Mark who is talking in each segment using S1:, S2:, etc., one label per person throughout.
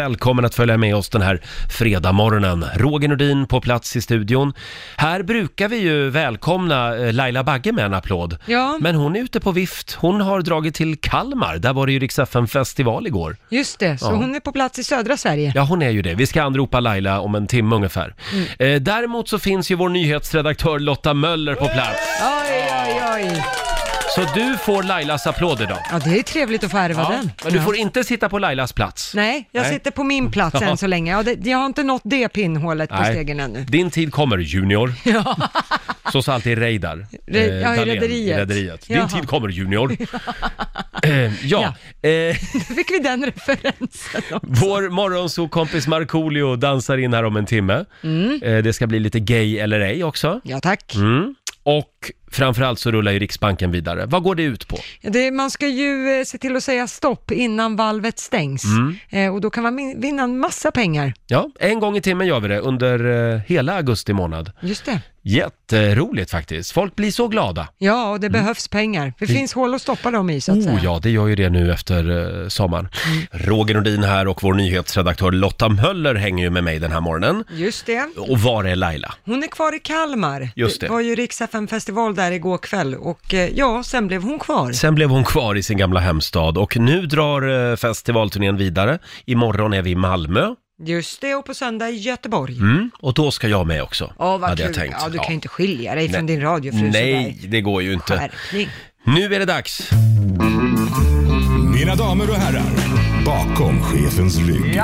S1: Välkommen att följa med oss den här fredagmorgonen. Roger Nordin på plats i studion. Här brukar vi ju välkomna eh, Laila Bagge med en applåd.
S2: Ja,
S1: Men hon är ute på vift. Hon har dragit till Kalmar. Där var det ju Rix festival igår.
S2: just det. Så
S1: Ja.
S2: hon är på plats i södra Sverige.
S1: Ja, hon är ju det. Vi ska anropa Laila om en timme ungefär.
S2: Mm.
S1: Eh, däremot så finns ju vår nyhetsredaktör Lotta Möller på plats.
S2: Oj, oj, oj.
S1: Så du får Lailas applåd idag.
S2: Ja, det är trevligt att få ärva
S1: Ja,
S2: den.
S1: men du
S2: Ja.
S1: får inte sitta på Lailas plats.
S2: Nej, jag
S1: Nej.
S2: sitter på min plats
S1: Ja.
S2: än så länge. Ja, det, jag har inte nått det pinnhålet på stegen ännu.
S1: Din tid kommer, Junior. Så sa alltid Reidar. Eh,
S2: Re- ja, i
S1: Dahlén,
S2: Rederiet.
S1: Rederiet. Din
S2: Jaha.
S1: tid kommer, Junior. eh, ja, Eh,
S2: Då fick vi den referensen.
S1: vår morgonsokompis Markoolio dansar in här om en timme. Eh, det ska bli lite gay eller ej också.
S2: Ja, tack.
S1: Mm. Och framförallt så rullar ju Riksbanken vidare. Vad går det ut på?
S2: Det, man ska ju eh, se till att säga stopp innan valvet stängs.
S1: Mm.
S2: Eh, och då kan man min- vinna en massa pengar.
S1: Ja, en gång i timmen gör vi det under eh, hela augusti månad.
S2: Just det.
S1: Jätteroligt faktiskt. Folk blir så glada.
S2: Ja, och det behövs pengar. Det finns hål att stoppa dem i, så att säga.
S1: Mm. Oh ja, det gör ju det nu efter eh, sommaren.
S2: Mm.
S1: Roger Nordin här och vår nyhetsredaktör Lotta Möller hänger ju med mig den här morgonen.
S2: Just det.
S1: Och var är Laila?
S2: Hon är kvar i Kalmar.
S1: Just det.
S2: var ju riks festival där igår kväll och eh, ja, sen blev hon kvar.
S1: Sen blev hon kvar i sin gamla hemstad och nu drar eh, festivalturnén vidare. Imorgon är vi i Malmö
S2: Just det, och på söndag i Göteborg.
S1: mm. och då ska jag med också.
S2: Ja, vad
S1: hade jag
S2: kul.
S1: tänkt.
S2: Ja, du
S1: Ja.
S2: kan ju inte skilja dig från
S1: Nej.
S2: din radiofru
S1: Nej, det går ju
S2: sådär.
S1: inte.
S2: Skärpning.
S1: Nu är det dags.
S3: Mina damer och herrar, bakom chefens rygg.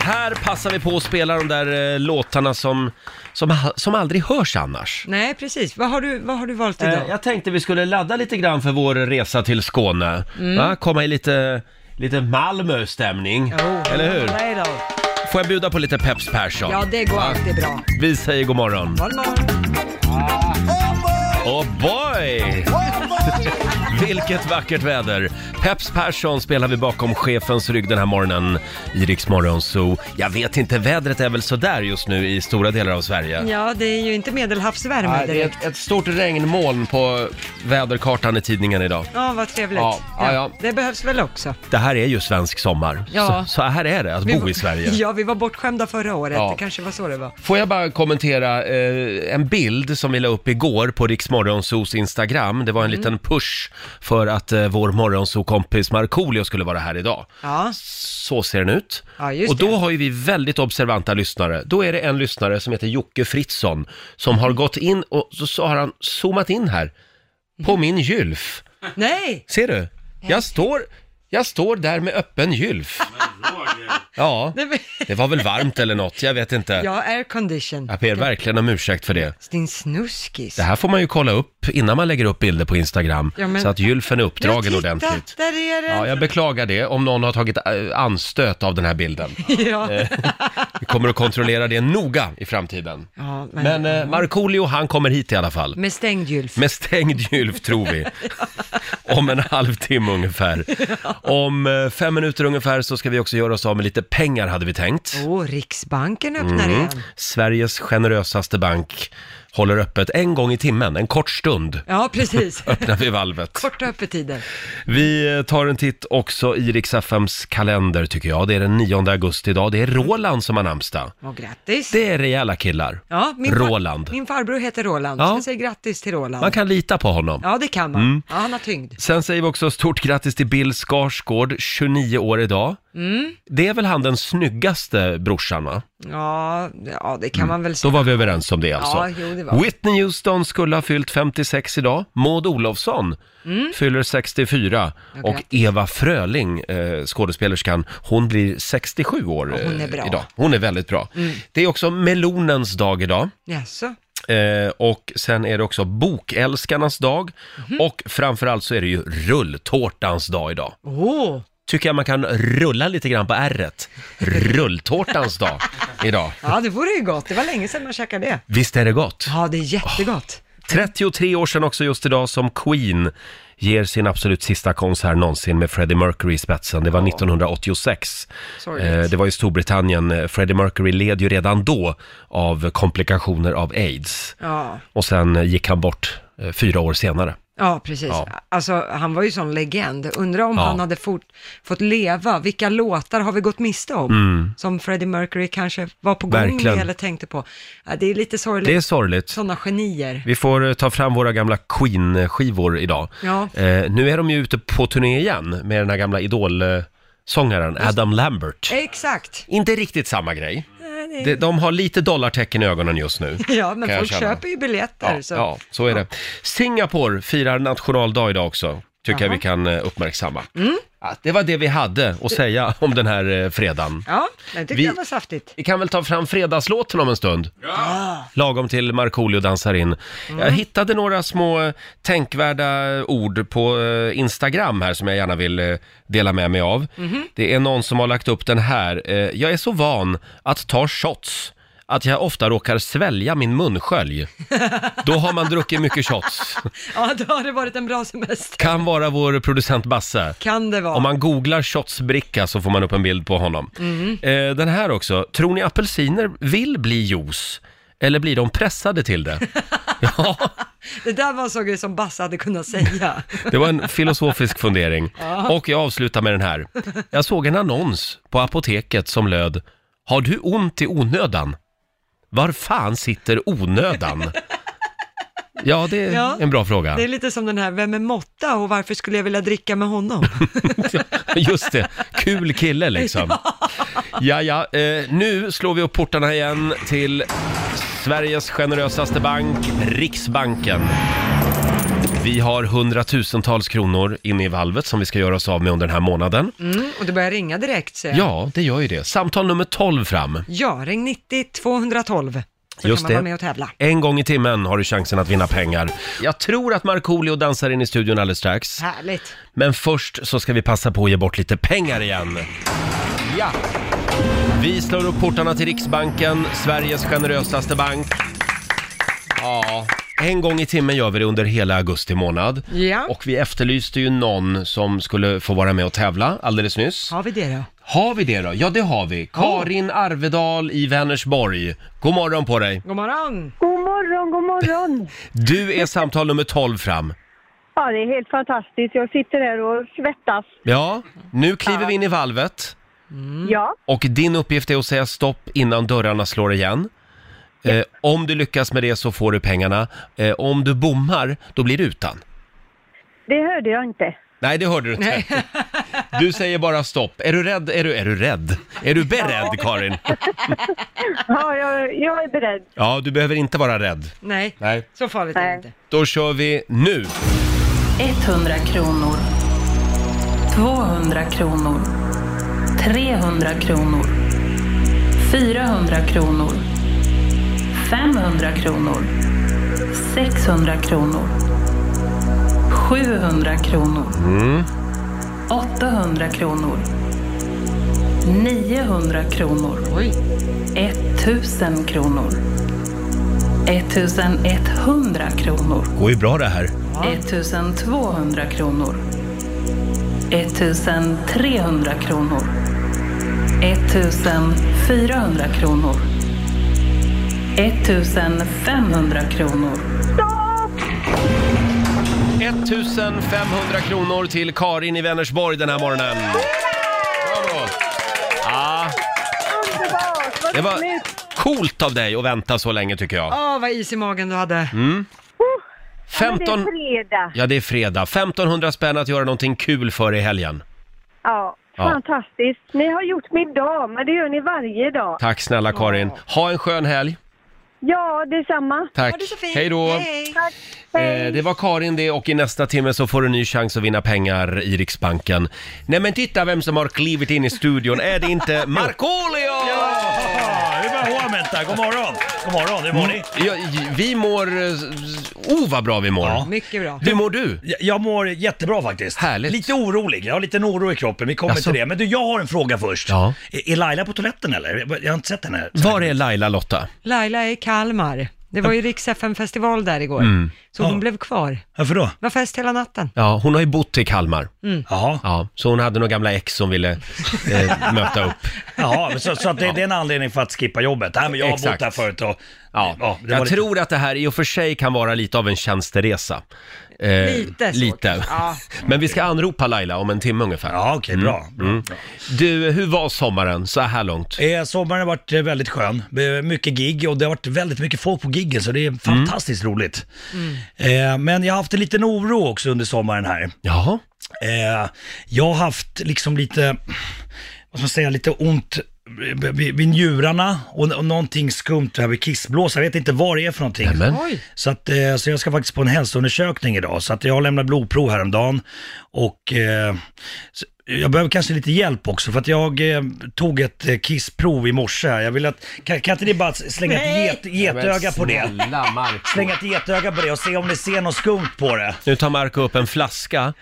S1: Här passar vi på att spela de där eh, låtarna som, som, ha- som aldrig hörs annars.
S2: Nej, precis. Vad har du, vad har du valt idag?
S1: Eh, Jag tänkte vi skulle ladda lite grann för vår resa till Skåne.
S2: Mm.
S1: Va? Komma i lite, lite Malmö-stämning.
S2: Jo.
S1: Eller hur?
S2: Nej då.
S1: Får jag bjuda på lite Peps Persson?
S2: Ja, det går
S1: Va?
S2: alltid bra.
S1: Vi säger god morgon.
S2: Morgon, morgon.
S1: Oh boy! Vilket vackert väder! Peps Persson spelar vi bakom chefens rygg den här morgonen i Rix Morgon Zoo. Jag vet inte, vädret är väl sådär just nu i stora delar av Sverige.
S2: Ja, det är ju inte medelhavsvärme
S1: Nej, det är
S2: direkt.
S1: ett, ett stort regnmoln på väderkartan i tidningen idag.
S2: Ja, vad trevligt.
S1: Ja, ja, ja.
S2: Det behövs väl också.
S1: Det här är ju svensk sommar.
S2: Ja.
S1: Så, så här är det att bo i Sverige.
S2: Ja, vi var bortskämda förra året.
S1: Ja.
S2: Det kanske var så det var.
S1: Får jag bara kommentera eh, en bild som vi la upp igår på Riksmorgonsos Instagram. Det var en liten push för att eh, vår morgonsokompis Markoolio skulle vara här idag.
S2: Ja,
S1: Så ser den ut.
S2: Ja, just
S1: och då
S2: det.
S1: har ju vi väldigt observanta lyssnare. Då är det en lyssnare som heter Jocke Fritzson som har gått in och så, så har han zoomat in här på min gylf.
S2: Mm. nej!
S1: Ser du? Jag står, jag står där med öppen gylf. Ja,
S2: Nej, men-
S1: det var väl varmt eller något, jag vet inte.
S2: Ja, aircondition.
S1: Jag ber verkligen om ursäkt för det.
S2: Din snuskis.
S1: Det här får man ju kolla upp innan man lägger upp bilder på Instagram,
S2: Ja, men-
S1: så att gylfen är
S2: Ja,
S1: uppdragen
S2: titta,
S1: ordentligt.
S2: där är
S1: Ja,
S2: den!
S1: jag beklagar det om någon har tagit äh, anstöt av den här bilden.
S2: Ja,
S1: Eh.
S2: ja.
S1: Vi kommer att kontrollera det noga i framtiden.
S2: men,
S1: Men eh, Markoolio, han kommer hit i alla fall.
S2: med stängd gylf.
S1: Med stängd gylf, tror vi. Om en halvtimme ungefär. Om eh, fem minuter ungefär så ska vi också göra oss av med lite pengar, hade vi tänkt. Mm.
S2: Åh, Riksbanken öppnar igen.
S1: Sveriges generösaste bank håller öppet en gång i timmen, en kort stund.
S2: Ja, precis.
S1: öppnar vi valvet.
S2: Korta öppettider.
S1: Vi eh, tar en titt också i Rix FMs kalender tycker jag. Det är den 9 augusti idag. Det är Roland som har namnsdag.
S2: Och grattis.
S1: Det är rejäla killar.
S2: Ja, min
S1: Roland.
S2: Far, min farbror heter Roland,
S1: Ja.
S2: så jag säger grattis till Roland.
S1: Man kan Mm. lita på honom.
S2: Ja, det kan man. Ja, han har tyngd.
S1: Sen säger vi också stort grattis till Bill Skarsgård, 29 år idag.
S2: Mm.
S1: Det är väl han den snyggaste brorsan va? Mm.
S2: Ja, ja det kan man väl
S1: Då
S2: säga.
S1: var vi överens om det alltså.
S2: Ja, jo, det var vi.
S1: Whitney Houston skulle ha fyllt 56 idag. Maud Olofsson fyller 64. och
S2: Mm. grattis.
S1: Eva Fröling, eh, skådespelerskan, hon blir 67 år
S2: Ja, hon är
S1: eh,
S2: bra. Mm.
S1: idag. Hon är väldigt bra. Det är också melonens dag idag.
S2: Jaså?
S1: Eh, och sen är det också bokälskarnas dag.
S2: Mhm.
S1: Och framförallt så är det ju rulltårtans dag idag.
S2: Åh!
S1: Tycker jag man kan rulla lite grann på ärret. Rulltårtans dag idag.
S2: Ja, det vore ju gott. Det var länge sedan man käkade det.
S1: Visst är det gott?
S2: Ja, det är jättegott.
S1: 33 år sedan också just idag som Queen ger sin absolut sista konsert någonsin med Freddie Mercury i spetsen. Det var 1986.
S2: Sorgligt.
S1: Eh, Det var i Storbritannien. Eh, Freddie Mercury led ju redan då av komplikationer av aids.
S2: Ja.
S1: Och sen eh, gick han bort eh, fyra år senare.
S2: Ja, precis.
S1: Ja.
S2: Alltså, han var ju sån legend. Undrar om
S1: Ja.
S2: han hade fort, fått leva. Vilka låtar har vi gått miste om? Som Freddie Mercury kanske var på gång
S1: Mm. Verkligen.
S2: med eller tänkte på. Ja, det är lite sorgligt.
S1: Det är sorgligt.
S2: Sådana genier.
S1: Vi får eh, ta fram våra gamla Queen-skivor idag.
S2: Ja.
S1: Eh, nu är de ju ute på turné igen med den här gamla Idol-sångaren Adam Lambert.
S2: Exakt.
S1: Inte riktigt samma grej.
S2: Nej, det-
S1: De, de har lite dollartecken i ögonen just nu.
S2: Ja, men
S1: kan jag
S2: folk
S1: känna.
S2: köper ju biljetter.
S1: Ja,
S2: så.
S1: ja, så är det. Singapore firar nationaldag idag också. Tycker jag vi kan eh, uppmärksamma.
S2: Mm.
S1: Ja, det var det vi hade att säga om den här eh, fredagen.
S2: ja det tyckte
S1: Vi-
S2: jag var saftigt.
S1: Vi kan väl ta fram fredagslåten om en stund. Lagom till Markoolio dansar in. Jag hittade några små eh, tänkvärda eh, ord på eh, Instagram här som jag gärna vill eh, dela med mig av. Det är någon som har lagt upp den här. Eh, Jag är så van att ta shots att jag ofta råkar svälja min munskölj. Då har man druckit mycket shots.
S2: Ja, då har det varit en bra semester.
S1: Kan vara vår producent Basse.
S2: Kan det vara.
S1: Om man googlar shotsbricka så får man upp en bild på honom.
S2: Mm.
S1: Eh, den här också. Tror ni apelsiner vill bli juice? Eller blir de pressade till det? ja,
S2: Det där var en sån grej som Basse hade kunnat säga.
S1: det var en filosofisk fundering. Och jag avslutar med den här. Jag såg en annons på apoteket som löd Har du ont i onödan? Var fan sitter onödan? Ja, det är
S2: Ja.
S1: en bra fråga.
S2: Det är lite som den här, vem är Motta och varför skulle jag vilja dricka med honom?
S1: Just det, kul kille liksom. Ja, ja, eh, nu slår vi upp portarna igen till Sveriges generösaste bank, Riksbanken. Vi har hundratusentals kronor inne i valvet som vi ska göra oss av med under den här månaden.
S2: Mm, och det börjar ringa direkt säger jag.
S1: Ja, det gör ju det. Samtal nummer 12 fram.
S2: Ja, ring 90 212. Så
S1: Just
S2: kan man
S1: det.
S2: vara med och tävla.
S1: En gång i timmen har du chansen att vinna pengar. Jag tror att Markoolio dansar in i studion alldeles strax.
S2: Härligt.
S1: Men först så ska vi passa på att ge bort lite pengar igen. Ja! Vi slår upp portarna till Riksbanken, Sveriges generösaste bank. Ja, en gång i timmen gör vi det under hela augusti månad.
S2: Ja.
S1: Och vi efterlyste ju någon som skulle få vara med och tävla alldeles nyss.
S2: Har vi det då?
S1: Har vi det då? Ja, det har vi. Karin Arvedal i Vänersborg. God morgon på dig.
S2: God morgon.
S4: God morgon, god morgon!
S1: Du är samtal nummer 12 fram.
S4: Ja, det är helt fantastiskt. Jag sitter här och svettas.
S1: Ja, Mm. nu kliver vi in i valvet.
S4: Ja,
S1: Och din uppgift är att säga stopp innan dörrarna slår igen. Eh, om du lyckas med det så får du pengarna. Eh, om du bommar, då blir det utan.
S4: det hörde jag inte.
S1: Nej, det hörde du inte. Du säger bara stopp. Är du rädd? Är du, är du rädd? Är du beredd, Karin?
S4: Ja, jag, jag är beredd.
S1: Ja, du behöver inte vara rädd.
S2: Nej,
S1: Nej.
S2: så farligt är det
S4: Nej.
S2: inte.
S1: Då kör vi nu!
S5: 100 kronor. 200 kronor. 300 kronor. 400 kronor. 500 kronor. 600 kronor. 700 kronor.
S1: Mm.
S5: 800 kronor. 900 kronor. 1000 kronor. 1100 kronor.
S1: går ju bra det här.
S5: 1200 kronor. 1300 kronor. 1400 kronor. 1500 kronor.
S1: 1500 kronor till Karin i Vänersborg den här morgonen. Bravo! Ja,
S4: Underbart! Vad
S1: det var
S4: roligt!
S1: coolt av dig att vänta så länge tycker jag.
S2: Åh, vad is i magen du hade.
S4: Oh, Men det
S1: 15...
S4: är fredag.
S1: Ja, det är fredag. 1500 spänn att göra någonting kul för i helgen.
S4: Ja,
S1: Ja.
S4: fantastiskt. Ni har gjort min dag, men det gör ni varje dag.
S1: Tack snälla Karin. Ha en skön helg. Eh,
S4: Ja, detsamma.
S1: Tack.
S2: Ha det så fint.
S1: Hej då.
S2: Hej.
S4: Tack.
S1: Eh, det var Karin det och i nästa timme så får du ny chans att vinna pengar i Riksbanken. Nej men titta vem som har klivit in i studion. Är det inte Markoolio?
S6: Ja, det är bara Håmenta. God morgon! God morgon, hur mår ni?
S1: Ja, vi mår... eh, Oh vad bra vi mår.
S6: Ja.
S2: Mycket bra.
S1: Hur mår du?
S6: Jag- Jag mår jättebra faktiskt.
S1: Härligt.
S6: Lite orolig, jag har lite oro i kroppen. Vi kommer
S1: Jaså?
S6: till det. Men du, jag har en fråga först.
S1: Ja.
S6: Är är Laila på toaletten eller? Jag har inte sett henne.
S1: Var är Laila Lotta?
S2: Laila är i Kalmar. Det var ju riks festival där igår.
S1: Mm.
S2: Så hon
S6: Ja.
S2: blev kvar. Det
S6: Varför då?
S2: var fest hela natten. Mm.
S1: Ja, hon har ju bott i Kalmar.
S6: Jaha,
S1: Ja, så hon hade några gamla ex som ville eh, möta upp.
S6: Jaha. men så, så att det, det är en anledning för att skippa jobbet. Nej, men jag har
S1: Exakt.
S6: bott där förut och...
S1: Ja,
S6: det var
S1: jag
S6: lite-
S1: tror att det här i och för sig kan vara lite av en tjänsteresa. Eh,
S2: Lite så
S1: lite.
S2: kanske. Ja.
S1: Men vi ska anropa Laila om en timme ungefär. Mm.
S6: Ja, okej, bra. bra, bra.
S1: Du, hur var sommaren så här långt?
S6: Eh, sommaren har varit eh, väldigt skön. Eh, Mycket gig och det har varit väldigt mycket folk på giggen så
S1: Mm.
S6: det är fantastiskt roligt.
S2: Mm.
S6: Eh, men jag har haft en liten oro också under sommaren här.
S1: Jaha?
S6: Eh, jag har haft liksom lite, vad ska man säga, lite ont vid, vid njurarna och, och någonting skumt här vid kissblåsa. Jag vet inte vad det är för någonting.
S1: Nämen.
S2: Oj.
S6: Så, att, eh, så jag ska faktiskt på en hälsoundersökning idag. Så att jag har lämnat blodprov häromdagen. Och eh, så- jag behöver kanske lite hjälp också för att jag eh, tog ett eh, kissprov i morse. här. Jag vill att, kan, kan inte ni bara slänga ett get, getöga på det? Slänga ett getöga på det och se om ni ser något skumt på det.
S1: Nu tar Marco upp en flaska eh,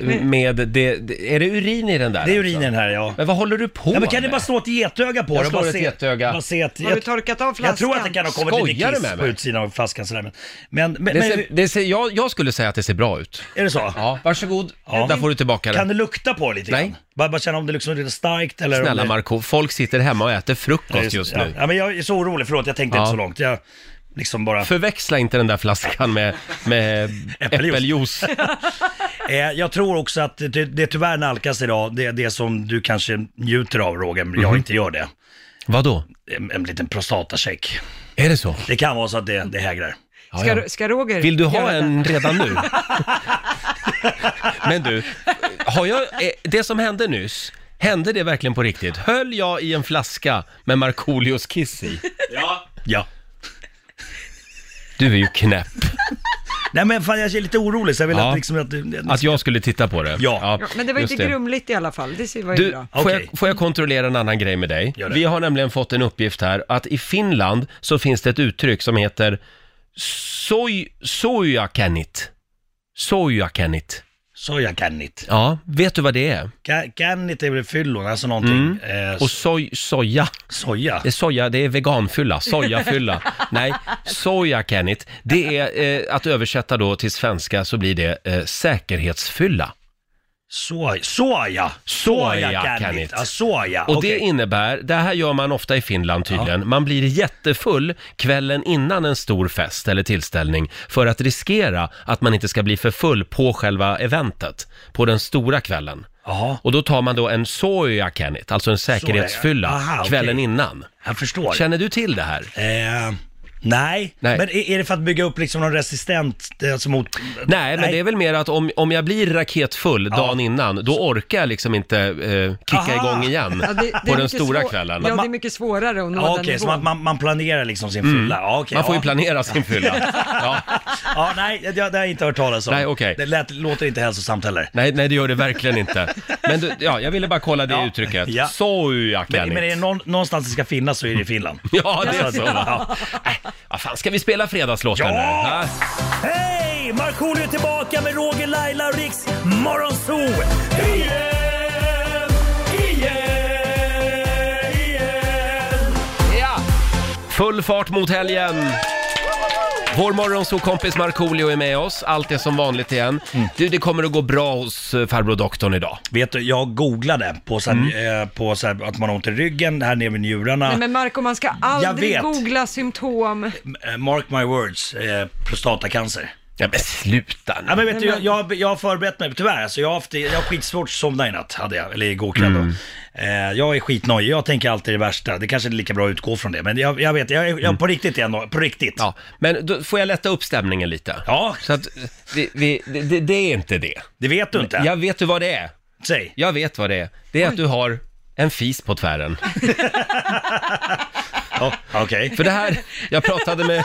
S2: Mm.
S1: med, det, det, är det urin i den där?
S6: Det är
S1: alltså?
S6: urinen här ja.
S1: Men vad håller du på
S6: Ja, men kan ni
S1: med?
S6: bara slå ett getöga på det?
S1: slår
S6: bara
S1: ett getöga.
S6: Bara se ett,
S2: Har du
S6: jag,
S2: torkat av flaskan?
S6: jag tror att det kan ha kommit
S1: Skojar
S6: lite
S1: du med
S6: kiss på
S1: mig?
S6: utsidan av flaskan sådär. Men, men, men,
S1: Det
S6: men
S1: ser, det ser, jag, jag skulle säga att det ser bra ut.
S6: är det så?
S1: Ja, varsågod. Där får du tillbaka
S6: Kan
S1: den.
S6: du lukta på det lite
S1: Nej.
S6: grann? Bara, bara känna om det liksom är lite starkt eller
S1: Snälla
S6: om det...
S1: Marco, folk sitter hemma och äter frukost just
S6: ja,
S1: nu.
S6: ja, men jag är så orolig, förlåt jag tänkte
S1: Ja.
S6: inte så långt. Jag liksom bara...
S1: Förväxla inte den där flaskan med, med
S6: Äppeljuice.
S1: äppeljuice.
S6: Eh, jag tror också att det, det tyvärr nalkas idag, det, det som du kanske njuter av Roger, men jag inte gör det.
S1: Mhm. Vadå?
S6: En, en liten prostatacheck.
S1: Är det så?
S6: Det kan vara så att det, det hägrar.
S1: Ja, ja.
S2: Ska, ska Roger
S1: Vill du ha
S2: göra det?
S1: en redan nu? Men du, har jag, eh, det som hände nyss, hände det verkligen på riktigt? Höll jag i en flaska med Markoolios kiss i?
S6: Ja.
S1: Du är ju knäpp.
S6: Nej men fan jag är lite orolig så jag vill
S1: Ja.
S6: att liksom att... du-
S1: Att jag skulle titta på det.
S6: Ja.
S2: Ja, men det var ju
S1: just
S2: inte grumligt i alla fall. Det ser- var ju
S1: Du,
S2: bra.
S1: får,
S6: Okej.
S1: jag, får jag kontrollera en annan grej med dig?
S6: Gör det.
S1: Vi har nämligen fått en uppgift här att i Finland så finns det ett uttryck som heter soj, sojakenit. Sojakenit.
S6: Så jag kan inte.
S1: Ja, vet du vad det är? Mm.
S6: Ka- Kan inte är väl fyllon, alltså någonting. Eh,
S1: Och soj, soja,
S6: soja.
S1: det är, soja, det är veganfylla, sojafylla. Nej, sojakenit, det är eh, att översätta då till svenska så blir det eh, säkerhetsfylla.
S6: Soja. Soja.
S1: Soja
S6: kan
S1: kan
S6: inte.
S1: inte.
S6: Ja, soja.
S1: Och
S6: Okej.
S1: det innebär, det här gör man ofta i Finland tydligen, man blir jättefull kvällen innan en stor fest eller tillställning för att riskera att man inte ska bli för full på själva eventet, på den stora kvällen.
S6: Jaha,
S1: Och då tar man då en sojakenit, alltså en säkerhetsfylla,
S6: Soja. Aha, okej.
S1: kvällen innan.
S6: jag förstår.
S1: Känner du till det här?
S6: Eh, nej.
S1: Nej.
S6: men är, är det för att bygga upp liksom någon resistent eh, alltså mot...
S1: Nej, men det är väl mer att om, om jag blir raketfull dagen innan, då orkar jag liksom inte eh, kicka
S6: Aha.
S1: igång igen
S2: Ja, det- det är
S1: på den
S2: mycket
S1: stora
S2: svår-
S1: kvällen.
S2: Ja, det är mycket svårare att nå
S6: Ja,
S2: den
S6: Okej, så
S2: nivån.
S6: man, man, man planerar liksom sin fylla? Ja, okej,
S1: Mm. Man får
S6: ja.
S1: ju planera sin fylla. Ja.
S6: Ja, nej, det, det har jag inte hört talas om.
S1: Nej, okej.
S6: Det lät, låter inte hälsosamt heller.
S1: Nej, nej det gör det verkligen inte. Men du, ja, jag ville bara kolla det
S6: Ja.
S1: uttrycket.
S6: Ja. Men,
S1: Sojakenit.
S6: men är det någon, någonstans det ska finnas så är det i Finland.
S1: Mm. Ja, det är
S6: Ja,
S1: så.
S6: ja.
S1: Ja. Äh, vad fan, ska vi spela fredagslåten
S6: Ja!
S1: nu? Ja.
S6: Hej! Markoolio är tillbaka med Roger, Laila och Riks Morgonzoo! Igen, igen, igen.
S1: ja! Full fart mot helgen! Vår morgonsåkompis Markoolio är med oss. Allt är som vanligt igen.
S6: Mm.
S1: Du, det kommer att gå bra hos eh, farbror doktorn idag. Mm.
S6: Vet du, jag googlade på, så här, eh, på så här, att man har ont i ryggen, här nere vid njurarna.
S2: Nej, men Marco, man ska aldrig
S6: vet.
S2: googla symptom.
S6: Eh, Mark my words, eh, prostatacancer.
S1: Ja, men sluta nu.
S6: Ja, men vet du, jag, jag, jag har förberett mig, tyvärr. Alltså, jag, har haft, jag har skitsvårt att somna i natt, hade jag, eller igår
S1: Mm.
S6: kväll. då. Eh, jag är skitnojig, jag tänker alltid det värsta. Det kanske inte är lika bra att utgå från det, men jag, jag vet, jag, är- jag, på riktigt är jag no- på riktigt.
S1: Mm. Ja, men då får jag lätta upp stämningen lite?
S6: Ja.
S1: Så att, eh, vi, vi, det, det, det är inte det.
S6: Det vet du inte.
S1: Jag vet du vad det är.
S6: Säg.
S1: Jag vet vad det är. Det är att du har en fis på tvären.
S6: Ja, Okej.
S1: För det här, jag pratade med,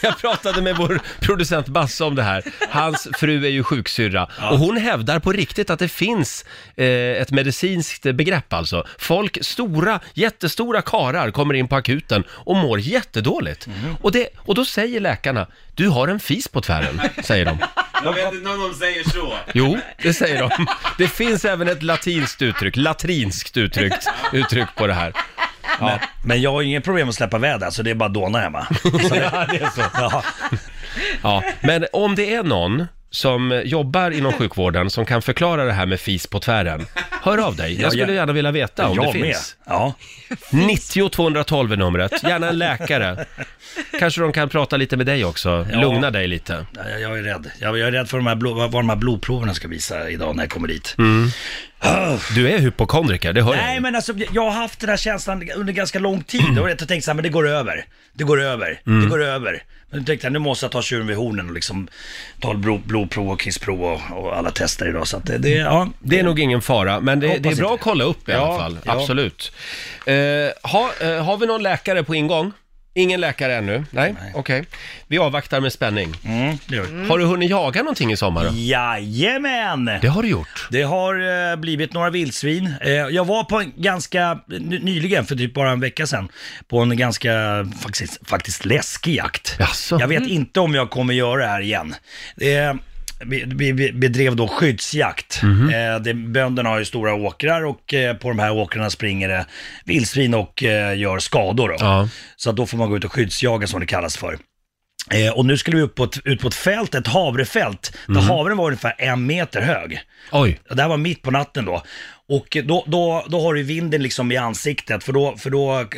S1: jag pratade med vår producent Basse om det här. Hans fru är ju sjuksyrra och hon hävdar på riktigt att det finns eh, ett medicinskt begrepp alltså. Folk, stora, jättestora karar kommer in på akuten och mår jättedåligt.
S6: Mm.
S1: Och, det, och då säger läkarna, du har en fis på tvären, säger de.
S7: Jag vet inte om de säger så.
S1: Jo, det säger de. Det finns även ett latinskt uttryck, latrinskt uttryck, uttryck på det här.
S6: Men, men jag har inget problem att släppa väder, så det är bara att dåna hemma. Så det, ja, det är så. Ja.
S1: Ja, men om det är någon som jobbar inom sjukvården som kan förklara det här med fis på tvären, hör av dig. Jag skulle
S6: jag-
S1: gärna vilja veta om
S6: jag
S1: det
S6: med.
S1: finns.
S6: Ja,
S1: 90 212 är numret, gärna en läkare. Kanske de kan prata lite med dig också,
S6: Ja.
S1: lugna dig lite.
S6: Nej, jag, jag är rädd. Jag, jag är rädd för de här blå, vad vad de här blodproverna ska visa idag när jag kommer dit. Ah.
S1: Mm. Du är hypokondriker, det hör
S6: Nej
S1: jag.
S6: men alltså jag har haft den här känslan under ganska lång tid och jag har tänkt så här, men det går över. Det går över,
S1: Mm.
S6: det går över. Men då tänkte jag, nu måste jag ta tjuren vid hornen och liksom ta blod, blodprov och kissprov och, och alla tester idag. Så att det, det, ja.
S1: Det är nog ingen fara, men det,
S6: Hoppas
S1: det är bra
S6: inte.
S1: att kolla upp i alla
S6: Ja,
S1: fall.
S6: ja.
S1: Absolut. Eh, ha, eh, har vi någon läkare på ingång? Ingen läkare ännu? Nej, okej. Vi avvaktar med spänning.
S6: Mm, det gör vi.
S1: Har du hunnit jaga någonting i sommar? Då?
S6: Jajamän!
S1: Det har du gjort.
S6: Det har eh, blivit några vildsvin. Eh, jag var på en ganska, ny- nyligen, för typ bara en vecka sedan, på en ganska faktiskt, faktiskt läskig jakt.
S1: Jaså?
S6: Jag vet inte om jag kommer göra det här igen. Eh, vi, vi vi bedrev då skyddsjakt.
S1: Mhm.
S6: Eh, det, bönderna har ju stora åkrar och eh, på de här åkrarna springer det vildsvin och eh, gör skador. Då.
S1: Ja.
S6: Så att då får man gå ut och skyddsjaga som det kallas för. Eh, och nu skulle vi upp på ett, ut på ett fält, ett havrefält, där havren var ungefär en meter hög.
S1: Oj.
S6: Det här var mitt på natten då. Och då, då, då har du vinden liksom i ansiktet för då, för då eh,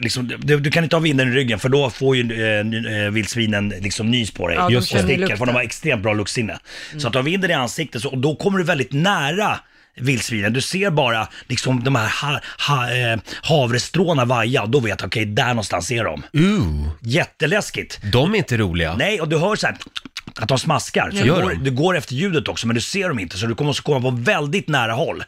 S6: liksom, du, du kan inte ha vinden i ryggen för då får ju eh, ny- eh, vildsvinen liksom nys på dig
S2: Ja, de
S6: och
S2: känner
S6: sticker för
S2: lukten.
S6: de har extremt bra luktsinne.
S1: Mm.
S6: Så att du har vinden i ansiktet så, och då kommer du väldigt nära vildsvinen. Du ser bara liksom de här ha, ha, eh, havrestråna vaja och då vet jag okej, där någonstans är de.
S1: Uh,
S6: Jätteläskigt.
S1: de är inte roliga.
S6: Nej, och du hör så här att de smaskar. Så
S1: Gör
S6: du, går,
S1: de?
S6: du går efter ljudet också, men du ser dem inte. Så du kommer att komma på väldigt nära håll.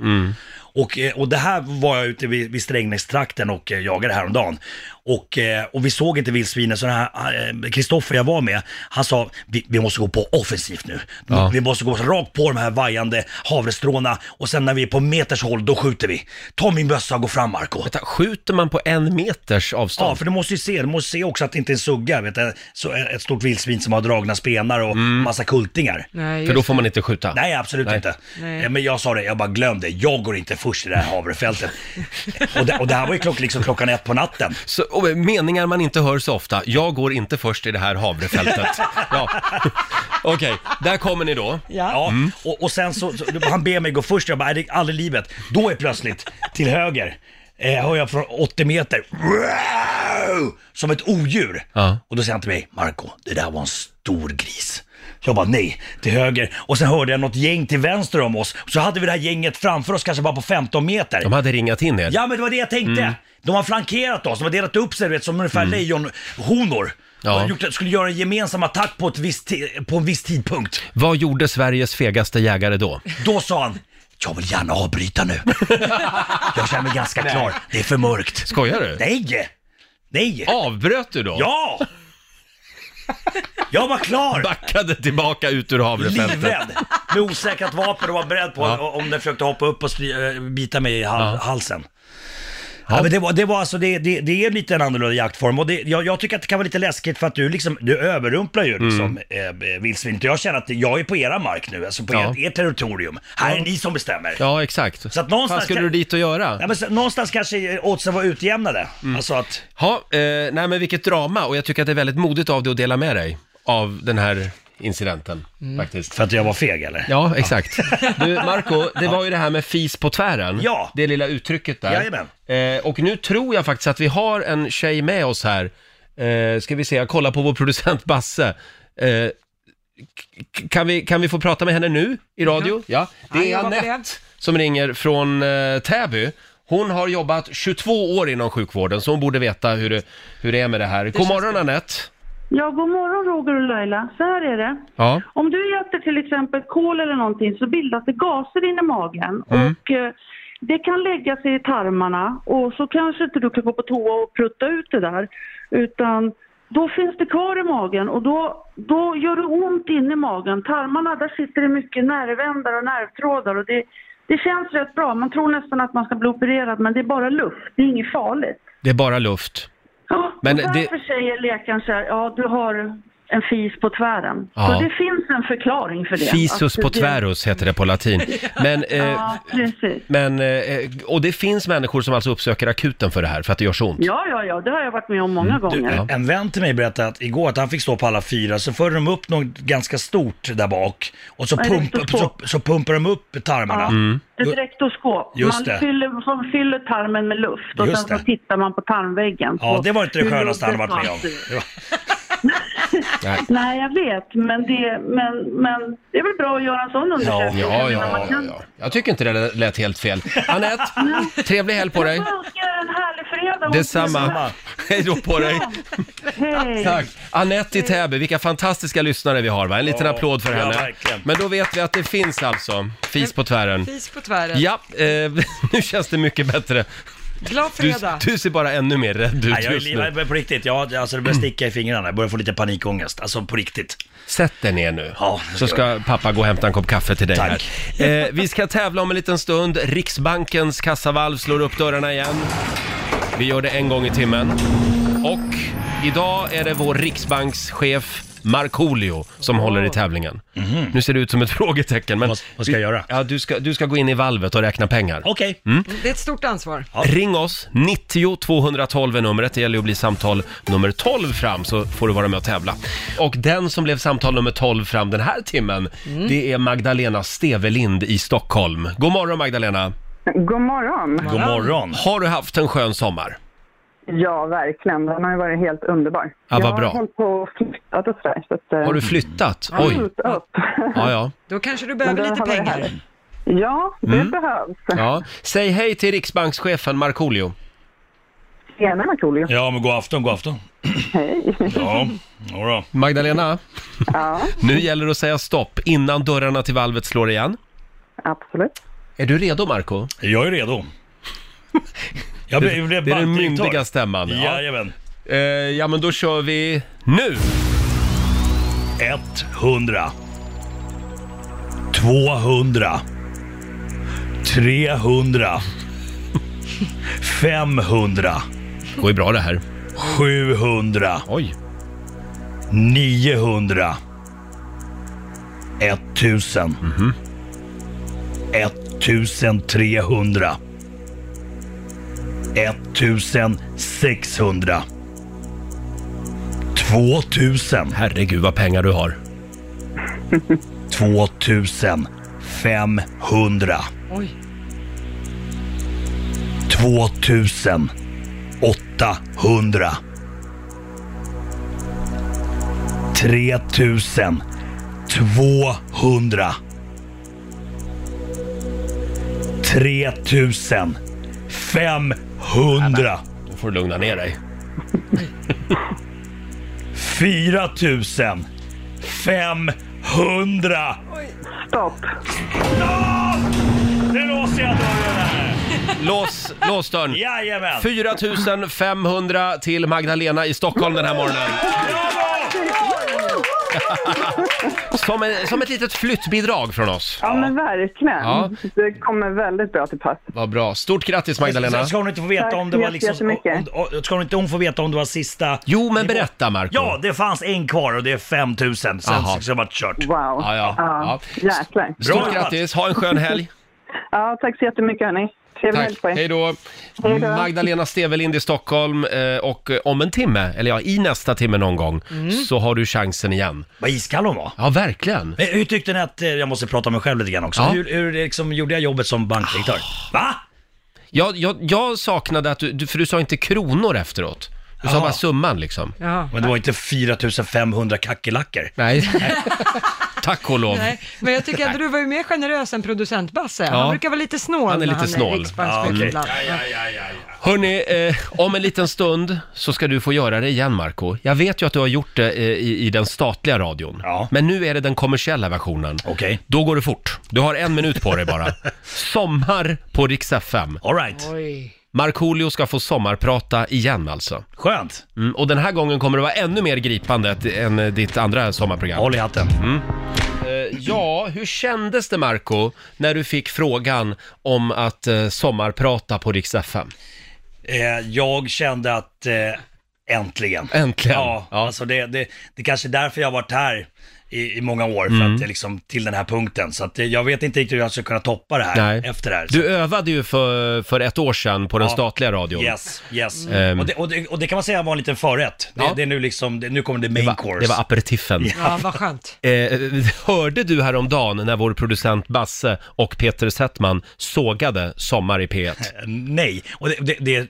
S6: Och, eh, och det här var jag ute vid, vid Strängnästrakten och eh, jagade häromdagen. Och, eh, och vi såg inte vildsvinen, så den här, eh, Kristoffer jag var med, han sa vi, vi måste gå på offensivt nu.
S1: Ja.
S6: Vi måste gå rakt på de här vajande havrestråna och sen när vi är på meters håll, då skjuter vi. Ta min bössa och gå fram Marco.
S1: Vänta, skjuter man på en meters avstånd?
S6: Ja, för du måste ju se, du måste se också att det inte är en sugga, vet du, så eh, ett stort vildsvin som har dragna spenar och massa kultingar.
S2: Nej,
S1: Mm. För
S2: just
S1: då får man inte skjuta?
S6: Nej, absolut
S1: Nej.
S6: inte.
S2: Nej.
S6: Eh, Men jag sa det, jag bara glöm det, jag går inte först i det här havrefältet. och, det, och det här var ju klock, liksom klockan ett på natten.
S1: Så, och eh, meningar man inte hör så ofta. Jag går inte först i det här havrefältet. ja. Okej, där kommer ni då. Mm.
S6: Ja. Och, och sen så, så, han ber mig gå först, jag bara, nej, det är aldrig i livet. Då är plötsligt, till höger, eh, hör jag från 80 meter, "Wow!" som ett odjur.
S1: Ja.
S6: Och då säger han till mig, Marco, det där var en stor gris. Jag bara nej, till höger. Och sen hörde jag något gäng till vänster om oss. Så hade vi det här gänget framför oss kanske bara på 15 meter.
S1: De hade ringat in er. Mm.
S6: Ja men det var det jag tänkte. De har flankerat oss, de har delat upp sig du vet, som ungefär lejonhonor.
S1: Ja.
S6: De gjort- skulle göra en gemensam attack på, ett visst, ti- på en viss tidpunkt.
S1: Vad gjorde Sveriges fegaste jägare då?
S6: Då sa han, jag vill gärna avbryta nu. jag känner mig ganska klar, det är för mörkt.
S1: Skojar du?
S6: Nej! Nej!
S1: Avbröt du då?
S6: Ja! Jag var klar!
S1: Backade tillbaka ut ur havrefältet?
S6: Livrädd! Med osäkrat vapen och var beredd på om den försökte hoppa upp och stry- eh, bita mig i hal- halsen. Ja. men det, var, det, var alltså, det, det, det är lite en annorlunda jaktform och det, jag, jag tycker att det kan vara lite läskigt för att du, liksom, du överrumplar ju liksom, eh, eh, vildsvinet. Jag känner att jag är på era mark nu, alltså på
S1: Mm. Ja.
S6: ert, ert territorium. Här är ni som bestämmer.
S1: Ja, exakt.
S6: Så att någonstans
S1: Vad skulle
S6: kan-
S1: du dit och göra?
S6: Ja, men, så, någonstans kanske oddsen var utjämnade. Alltså att,
S1: Mm. Ja, eh, nej men vilket drama och jag tycker att det är väldigt modigt av dig att dela med dig av den här incidenten
S6: Mm.
S1: faktiskt.
S6: för att jag var feg eller?
S1: Ja, exakt. Du, Marco, det var ju det här med fis på tvären.
S6: Ja.
S1: Det lilla uttrycket där.
S6: Jajamän.
S1: Eh, och nu tror jag faktiskt att vi har en tjej med oss här. Eh, ska vi se, jag kollar på vår producent Basse. Eh, k- kan, vi, kan vi få prata med henne nu i radio? Ja. Det
S2: Ja,
S1: är
S2: jag var
S1: Anette
S2: beredd.
S1: som ringer från eh, Täby. Hon har jobbat 22 år inom sjukvården, så hon borde veta hur det, hur det är med det här. God morgon Anette!
S4: Ja, god morgon Roger och Laila. Så här är det.
S1: Ja.
S4: Om du äter till exempel kol eller någonting så bildas det gaser in i magen.
S8: Mm.
S4: Och eh, det kan lägga sig i tarmarna och så kanske inte du kan gå på toa och prutta ut det där. Utan då finns det kvar i magen och då, då gör det ont in i magen. Tarmarna, där sitter det mycket nervändar och nervtrådar och det, det känns rätt bra. Man tror nästan att man ska bli opererad men det är bara luft, det är inget farligt.
S1: Det är bara luft.
S4: Ja,
S1: Men
S4: men
S1: det-
S4: därför säger läkaren så här, ja du har en fis på tvären.
S1: Ja.
S4: Så det finns en förklaring för det.
S1: Fisus
S4: Att
S1: på
S4: det-
S1: tvärus heter det på latin. Men, eh,
S4: Ja, precis.
S1: men, eh, och det finns människor som alltså uppsöker akuten för det här, för att det gör så ont.
S4: Ja, ja, ja, det har jag varit med om många gånger. Mm.
S1: ja.
S6: Mm, En vän till mig berättade att igår att han fick stå på alla fyra, så förde de upp något ganska stort där bak och så,
S4: Nej, det är
S6: pump, så,
S4: så små.
S6: så pumpar de upp tarmarna.
S1: Mm.
S4: Ett rektoskop.
S6: Just
S4: man,
S6: det.
S4: Fyller, man fyller tarmen med luft och
S6: Just
S4: sen
S6: det.
S4: så tittar man på tarmväggen.
S6: Ja,
S4: på
S6: det var inte det
S4: hur
S6: skönaste han
S4: jobbet
S6: varit med om.
S4: var.
S6: Det var-
S4: Nej, jag vet, men det, men, men det är väl bra att göra en sån undersökning.
S1: Ja, ja,
S4: Jag menar, man
S1: ja,
S4: kan-
S1: ja. Jag tycker inte det lät helt fel. Anette, trevlig helg på dig.
S4: Jag önskar er en härlig fredag.
S1: Detsamma. Hej då på dig.
S4: Hej.
S1: Tack. Anette i Täby, vilka fantastiska lyssnare vi har va? En liten
S6: Ja,
S1: applåd för
S6: ja,
S1: henne.
S6: verkligen.
S1: Men då vet vi att det finns alltså, fis på tvären.
S2: Fis på tvären.
S1: Ja, eh, nu känns det mycket bättre.
S2: Glad
S1: Du,
S2: fredag.
S1: du ser bara ännu mer rädd
S6: Nej,
S1: ut
S6: jag är
S1: just nu.
S6: livrädd på riktigt. Jag, alltså, det börjar sticka i fingrarna. Jag börjar få lite panikångest. Alltså på riktigt.
S1: Sätt dig ner nu,
S6: Ja,
S1: så ska pappa gå och hämta en kopp kaffe till dig
S6: Tack.
S1: här. Eh, vi ska tävla om en liten stund. Riksbankens kassavalv slår upp dörrarna igen. Vi gör det en gång i timmen. Och idag är det vår riksbankschef Markoolio som håller i tävlingen. Nu ser det ut som ett frågetecken. Men
S6: Mhm. Vad- vad ska jag göra?
S1: Ja, du, ska, du ska gå in i valvet och räkna pengar. Mm.
S6: Okej.
S2: Mm, Det är ett stort ansvar.
S6: Ja.
S1: Ring oss, 90 212 är numret. Det gäller att bli samtal nummer 12 fram så får du vara med och tävla. Och den som blev samtal nummer 12 fram den här timmen, det är Magdalena Stevelind i Stockholm. God morgon Magdalena!
S9: God morgon.
S6: God morgon.
S1: Har du haft en skön sommar?
S9: Ja, verkligen. Den har ju varit helt underbar.
S1: Ja, vad
S9: jag
S1: bra.
S9: har hållit på och flyttat och sådär. Så att, eh,
S1: Har du flyttat?
S9: jag har
S1: Oj!
S9: fullt upp.
S1: Ja, ja.
S2: Då kanske du
S9: Men det
S2: behöver lite
S9: har varit
S2: pengar.
S9: härligt. Ja, det
S1: Mm.
S9: behövs.
S1: ja. Säg hej till riksbankschefen Markoolio.
S9: Tjena Markoolio.
S6: Ja, men god afton, god afton.
S9: Hej.
S6: Ja, jodå.
S1: Magdalena,
S9: Ja,
S1: nu gäller det att säga stopp innan dörrarna till valvet slår igen.
S9: absolut.
S1: Är du redo Marco?
S6: Jag är redo. Jag blev, jag blev
S1: Det är den
S6: bankdirektör.
S1: myndiga stämman. Ja.
S6: Jajamän.
S1: Eh, ja, men då kör vi nu!
S6: 100. 200. 300. 500.
S1: Det går ju bra det här.
S6: 700.
S1: Oj.
S6: 900 1000
S1: Mhm.
S6: 1300 1600 2000
S1: Herregud vad pengar du har.
S6: 2500
S2: Oj.
S6: 2800 3200 3500
S1: Nu får du lugna ner dig.
S6: 4500
S9: Stopp.
S6: Nu låser jag dörren här!
S1: Lås, lås dörren.
S6: Jajamän!
S1: 4 500 till Magdalena i Stockholm den här morgonen. Som, en, som ett litet flyttbidrag från oss.
S9: Ja, men verkligen.
S1: Ja.
S9: Det kommer väldigt bra till pass.
S1: Vad bra. Stort grattis
S6: Sen
S1: Magdalena.
S6: ska hon inte få veta
S9: Tack
S6: om det
S9: så
S6: var liksom...
S9: jättemycket.
S6: Om, om, ska hon inte hon få veta om det var sista...
S1: Jo, men
S6: nivå?
S1: berätta, Marco.
S6: Ja, det fanns en kvar och det är 5000. Sen
S1: Aha.
S6: så ska det vara kört.
S9: Wow.
S1: Ja, ja, ja.
S9: Jäklar.
S1: Stort
S6: Bra.
S1: grattis. Ha en skön helg.
S9: Ja, tack så jättemycket hörni. Trevlig helg
S1: Tack.
S9: på er.
S1: Hej då.
S9: Hej då.
S1: Magdalena Stevelind i Stockholm eh, och eh, om en timme, eller ja, i nästa timme någon gång,
S9: Mm.
S1: så har du chansen igen.
S6: Vad iskall hon var.
S1: Ja, verkligen.
S6: Men hur tyckte ni att, eh, jag måste prata om mig själv lite grann också.
S1: Ja. Ah.
S6: Hur, hur liksom, gjorde jag jobbet som bankdirektör? Va?
S1: Jag, jag, jag saknade att du- du, för du sa inte kronor efteråt. Du sa
S6: Jaha.
S1: bara summan liksom.
S2: Ja.
S6: Men det var inte 4500 kackerlackor.
S1: Nej. Tack och lov.
S2: Nej, men jag tycker ändå du var ju mer generös än producent Basse.
S1: Ja.
S2: Han brukar vara lite snål
S1: Han är lite
S2: när han
S1: snål.
S2: är riksbankschef
S6: Ja, okej.
S2: ibland.
S1: Hörni, eh, om en liten stund så ska du få göra det igen Marco. Jag vet ju att du har gjort det eh, i, i den statliga radion.
S6: Ja.
S1: Men nu är det den kommersiella versionen.
S6: Okej.
S1: Då går det fort. Du har en minut på dig bara. Sommar på Rix FM.
S6: All right.
S2: Oj.
S1: Markoolio ska få sommarprata igen alltså.
S6: Skönt.
S1: Mm, och den här gången kommer det vara ännu mer gripande att- än eh, ditt andra sommarprogram. Mm.
S6: Håll i hatten.
S1: Eh, Ja, hur kändes det Marco när du fick frågan om att eh, sommarprata på Rix FM?
S6: Eh, jag kände att eh, Äntligen.
S1: Äntligen.
S6: Ja,
S1: Ja.
S6: Alltså det, det, det kanske är därför jag har varit här i, i många år, för
S1: Mm.
S6: att det liksom till den här punkten. Så att det, jag vet inte riktigt hur jag ska kunna toppa det här
S1: Nej.
S6: efter det här. Så-
S1: Du övade ju för, för ett år sedan på den
S6: Ja.
S1: statliga radion.
S6: Yes, yes.
S1: Ehm.
S6: Och, det, och, det, och det kan man säga var en liten förrätt. Det,
S1: Ja.
S6: det är nu liksom, det, nu kommer det main
S1: Det var,
S6: course.
S1: det var aperitifen.
S2: Ja, vad skönt.
S1: Eh, hörde du häromdagen när vår producent Basse och Peter Settman sågade Sommar i P1?
S6: Eh, Nej, och det, det, det,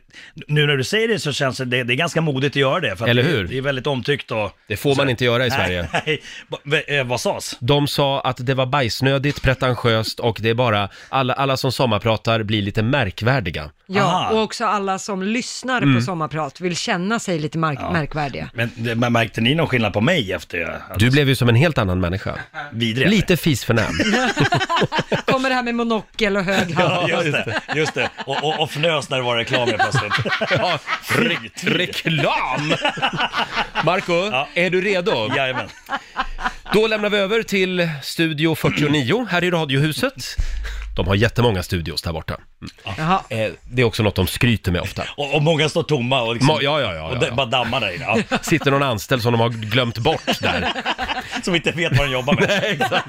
S6: nu när du säger det så känns det, det, det är ganska modigt att göra det. För att
S1: Eller
S6: det-
S1: hur?
S6: Det är väldigt omtyckt och...
S1: Det får man inte göra i
S6: Nej,
S1: Sverige.
S6: Nej, Va- eh, vad sades?
S1: De sa att det var bajsnödigt, pretentiöst och det är bara alla, alla som sommarpratar blir lite märkvärdiga.
S2: Ja,
S6: Aha. Mm.
S2: och också alla som lyssnar på sommarprat vill känna sig lite mark- märkvärdiga.
S6: Men det- men märkte ni någon skillnad på mig efter jag... Alltså,
S1: Du blev ju som en helt annan människa.
S6: vidrig?
S1: Lite fisförnäm.
S2: Kommer det här med monokel och hög hatt.
S6: Ja, just det. Just det. Och, och, och fnös när det var reklam helt plötsligt.
S1: Ja, re- reklam! Marco, är du redo?
S6: Jajamän.
S1: Då lämnar vi över till Studio 49 här i Radiohuset. De har jättemånga studios där borta.
S2: Jaha.
S1: Eh, Det är också något de skryter med ofta.
S6: Och, och många står tomma och, liksom,
S1: Ma- ja, ja, ja,
S6: och
S1: ja,
S6: det-
S1: ja.
S6: bara dammar där inne. Ja.
S1: Sitter någon anställd som de har glömt bort där.
S6: Som inte vet vad de jobbar med.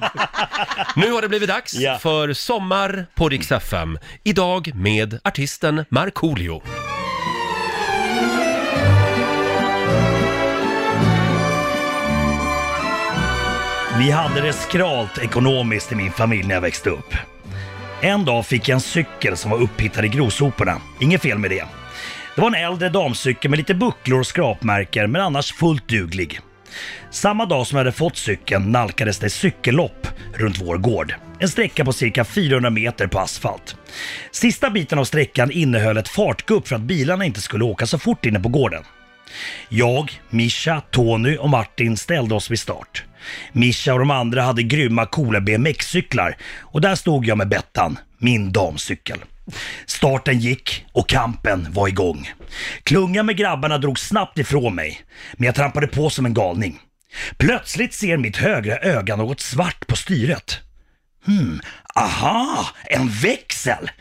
S1: Nu har det blivit dags
S6: Ja.
S1: för Sommar på Rix FM. Idag med artisten Markoolio.
S6: Vi hade det skralt ekonomiskt i min familj när jag växte upp. En dag fick jag en cykel som var upphittad i grovsoporna. Inget fel med det. Det var en äldre damcykel med lite bucklor och skrapmärken men annars fullt duglig. Samma dag som jag hade fått cykeln nalkades det cykellopp runt vår gård. En sträcka på cirka 400 meter på asfalt. Sista biten av sträckan innehöll ett fartgupp för att bilarna inte skulle åka så fort inne på gården. Jag, Mischa, Tony och Martin ställde oss vid start. Mischa och de andra hade grymma coola BMX-cyklar och där stod jag med Bettan, min damcykel. Starten gick och kampen var igång. Klungan med grabbarna drog snabbt ifrån mig, men jag trampade på som en galning. Plötsligt ser mitt högra öga något svart på styret.
S1: Hmm.
S6: Aha, en växel!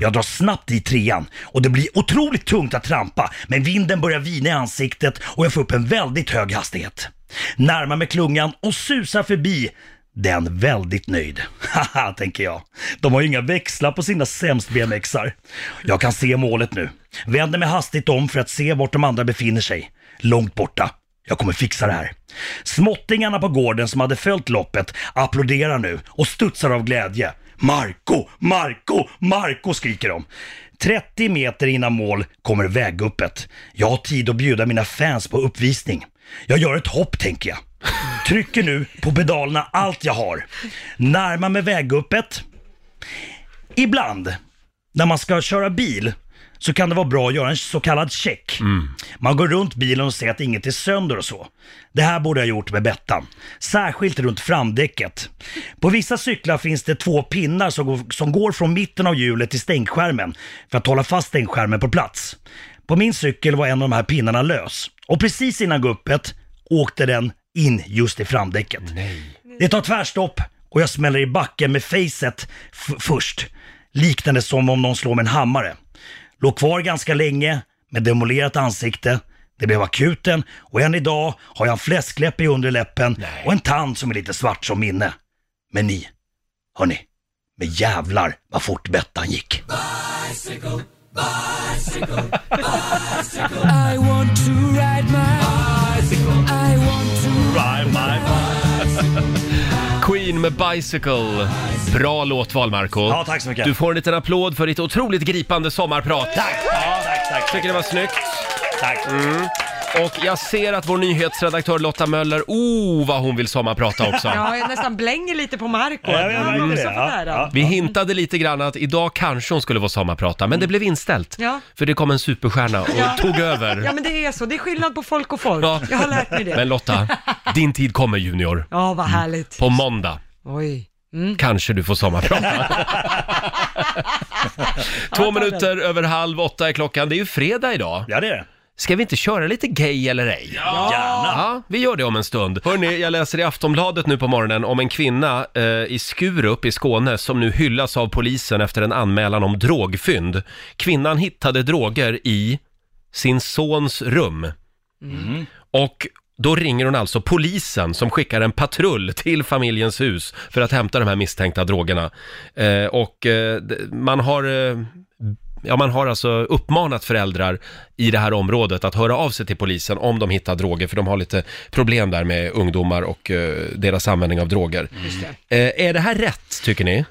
S6: Jag drar snabbt i trean och det blir otroligt tungt att trampa men vinden börjar vina i ansiktet och jag får upp en väldigt hög hastighet. Närmar mig klungan och susar förbi den väldigt nöjd. Haha, tänker jag. De har ju inga växlar på sina sämst BMXar. Jag kan se målet nu. Vänder mig hastigt om för att se vart de andra befinner sig. Långt borta. Jag kommer fixa det här. Småttingarna på gården som hade följt loppet applåderar nu och studsar av glädje. Marco, Marco, Marco skriker de. 30 meter innan mål kommer vägguppet. Jag har tid att bjuda mina fans på uppvisning. Jag gör ett hopp tänker jag. Trycker nu på pedalerna allt jag har. Närmar mig vägguppet. Ibland när man ska köra bil så kan det vara bra att göra en så kallad check. Man går runt bilen och ser att inget är sönder och så. Det här borde jag ha gjort med Bettan. Särskilt runt framdäcket. På vissa cyklar finns det två pinnar som går, som går från mitten av hjulet till stänkskärmen för att hålla fast stänkskärmen på plats. På min cykel var en av de här pinnarna lös och precis innan guppet åkte den in just i framdäcket. Det tar tvärstopp och jag smäller i backen med facet f- först. Liknande som om någon slår med en hammare. Låg kvar ganska länge med demolerat ansikte. Det blev akuten och än idag har jag en fläskläpp i underläppen och en tand som är lite svart som minne. Men ni, hörni, med jävlar vad fort Bettan gick.
S1: Queen med Bicycle. Bra låtval, Marco.
S6: Ja, tack så mycket.
S1: Du får en liten applåd för ditt otroligt gripande sommarprat.
S6: Tack, tack, tack, tack,
S1: Tycker det var snyggt. Mm.
S6: tack.
S1: Och jag ser att vår nyhetsredaktör Lotta Möller, oh vad hon vill sommarprata också.
S2: Ja, jag nästan blänger lite på Marco.
S6: Ja, jag märkte
S2: Han är
S6: det.
S2: så
S6: Ja,
S2: förfärad.
S6: ja.
S1: Vi hintade lite grann att idag kanske hon skulle vara sommarprata, men det blev inställt.
S2: Mm. Ja.
S1: För det kom en superstjärna och
S2: Ja.
S1: tog över.
S2: Ja, men det är så. Det är skillnad på folk och folk.
S1: Ja.
S2: Jag har lärt mig
S1: Men
S2: det.
S1: Lotta, din tid kommer Junior.
S2: Ja, vad härligt.
S1: På måndag
S2: Oj. Mm.
S1: kanske du får sommarprata. Två minuter över halv åtta är klockan. Det är ju fredag idag.
S6: Ja, det är det.
S1: Ska vi inte köra lite gay eller ej? Ja.
S6: Gärna.
S1: vi gör det om en stund. Hörrni, jag läser i Aftonbladet nu på morgonen om en kvinna eh, i Skurup i Skåne som nu hyllas av polisen efter en anmälan om drogfynd. Kvinnan hittade droger i sin sons rum. Och då ringer hon alltså polisen som skickar en patrull till familjens hus för att hämta de här misstänkta drogerna. Eh, och eh, d- man har... Eh, Ja, man har alltså uppmanat föräldrar i det här området att höra av sig till polisen om de hittar droger, för de har lite problem där med ungdomar och eh, deras användning av droger. Eh, är det här rätt, tycker ni?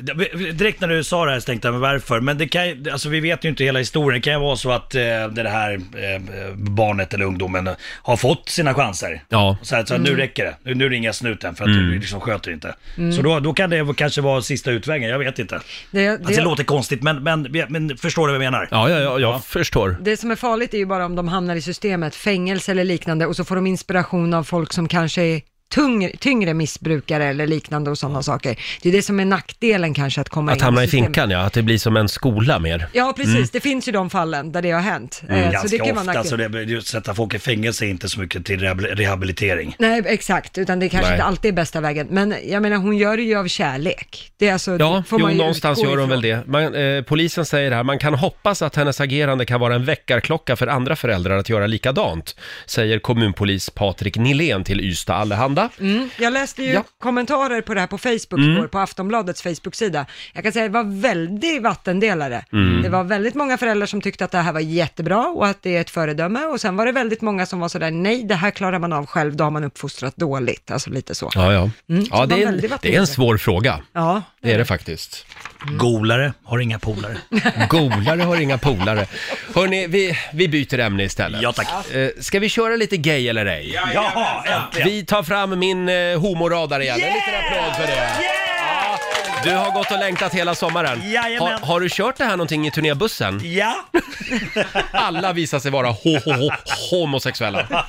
S6: Direkt när du sa det här så tänkte jag, men varför? Men det kan ju- alltså vi vet ju inte hela historien. Det kan ju vara så att eh, det här eh, barnet eller ungdomen har fått sina chanser.
S1: Ja.
S6: Så här, så här,
S2: Mm.
S6: nu räcker det. Nu, nu ringer jag snuten för att
S1: Mm.
S6: du liksom sköter inte. Så då, då kan det kanske vara sista utvägen, jag vet inte.
S2: Det,
S6: Alltså, det
S2: det,
S6: låter konstigt, men, men, men förstår du vad jag menar?
S1: Ja, ja, ja jag förstår.
S2: det som är farligt är ju bara om de hamnar i systemet, fängelse eller liknande, och så får de inspiration av folk som kanske är tung, tyngre missbrukare eller liknande och sådana saker. Det är det som är nackdelen kanske att komma in
S1: Att hamna i
S2: systemet.
S1: finkan, Mm. ja. Att det blir som en skola mer.
S2: Ja, precis. Det finns ju de fallen där det har hänt.
S1: Mm.
S2: Eh, så det
S6: Mm. Ganska
S2: kan vara
S6: ofta,
S2: nackdel.
S6: så det, just sätta folk i fängelse är inte så mycket till rehabil- rehabilitering.
S2: Nej, exakt, utan det kanske
S1: Nej.
S2: inte alltid är bästa vägen. Men jag menar, hon gör det ju av kärlek. Det är alltså,
S1: Ja,
S2: det får
S1: jo,
S2: man ju
S1: någonstans
S2: utgå
S1: gör hon
S2: ifrån.
S1: väl det. Man, eh, polisen säger här, man kan hoppas att hennes agerande kan vara en väckarklocka för andra föräldrar att göra likadant, säger kommunpolis Patrik Nilén till Ystad Allehanda.
S2: Mm. Jag läste ju
S1: Ja. Mm.
S2: kommentarer på det här på Facebook igår, på Aftonbladets Facebook-sida. Jag kan säga att det var väldigt vattendelare.
S1: Mm.
S2: Det var väldigt många föräldrar som tyckte att det här var jättebra och att det är ett föredöme. Och sen var det väldigt många som var sådär, nej, det här klarar man av själv, då har man uppfostrat dåligt. Alltså lite Mm, så.
S1: Ja, ja.
S2: det
S1: ja
S2: var
S1: det, är en,
S2: väldigt vatten
S1: det är
S2: i
S1: en
S2: det.
S1: svår fråga.
S2: Ja.
S1: Det är det faktiskt.
S2: Mm.
S6: Golare har inga polare.
S1: Golare har inga polare. Hörni, vi, vi byter ämne istället.
S6: Ja, tack.
S1: Eh, ska vi köra lite gay eller ej?
S6: Jaha, äntligen!
S1: Vi tar fram min eh, homoradar igen. En liten applåd för det. Ja, du har gått och längtat hela sommaren.
S6: Jajamän.
S1: Har, har du kört det här någonting i turnébussen?
S6: Ja,
S1: Alla visar sig vara ho, ho, ho, homosexuella.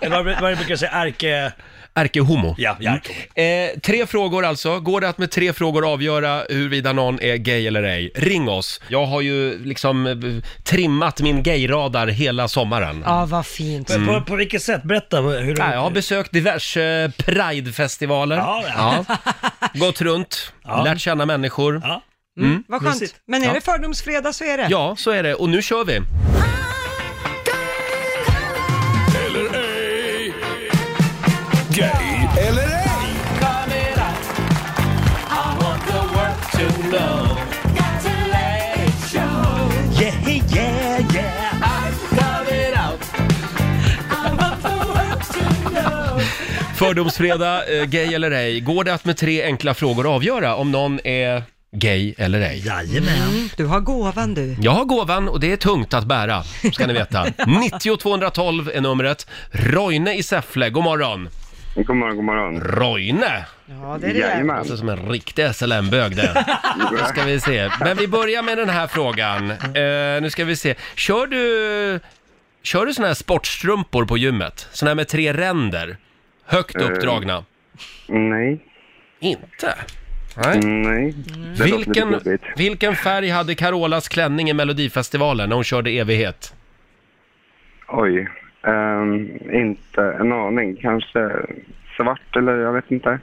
S6: eller vad- vad jag brukar säga, ärke...
S1: Ärkehomo.
S6: Ja, ja.
S1: Eh, tre frågor alltså. Går det att med tre frågor avgöra huruvida någon är gay eller ej? Ring oss. Jag har ju liksom eh, trimmat min gayradar hela sommaren.
S2: ja, vad fint.
S6: På, på vilket sätt? Berätta hur du...
S1: Mm. Ja, Jag har besökt diverse pridefestivaler.
S6: Ja, ja.
S1: Gått runt, lärt känna människor. Mm.
S6: Ja.
S2: Mm. Vad skönt.
S6: mysigt.
S2: Men är
S1: Ja.
S2: det fördomsfredag så är det.
S1: Ja, så är det. Och nu kör vi!
S3: Gay eller ej?
S6: Yeah, yeah, yeah!
S1: Fördomsfredag, eh, gay eller ej. Går det att med tre enkla frågor avgöra om någon är gay eller ej?
S6: Jajamän.
S2: Mm. Du har gåvan du.
S1: Jag har gåvan och det är tungt att bära, ska ni veta. 90 212 är numret. Roine i Säffle, god morgon.
S10: God morgon, god morgon.
S1: Roine!
S2: Ja, det är det.
S10: Jajamän.
S1: Låter Alltså, som en riktig SLM-bög det. Nu ska vi se. Men vi börjar med den här frågan. Eh, nu ska vi se. Kör du, kör du såna här sportstrumpor på gymmet? Såna här med tre ränder?
S10: Eh.
S1: Högt uppdragna?
S10: Nej,
S1: Inte? Nej.
S10: nej. Mm. Det låter lite
S1: Vilken,
S10: jobbigt.
S1: vilken färg hade Carolas klänning i Melodifestivalen när hon körde evighet?
S10: Oj. Ehm, inte en aning. Kanske svart eller jag vet inte.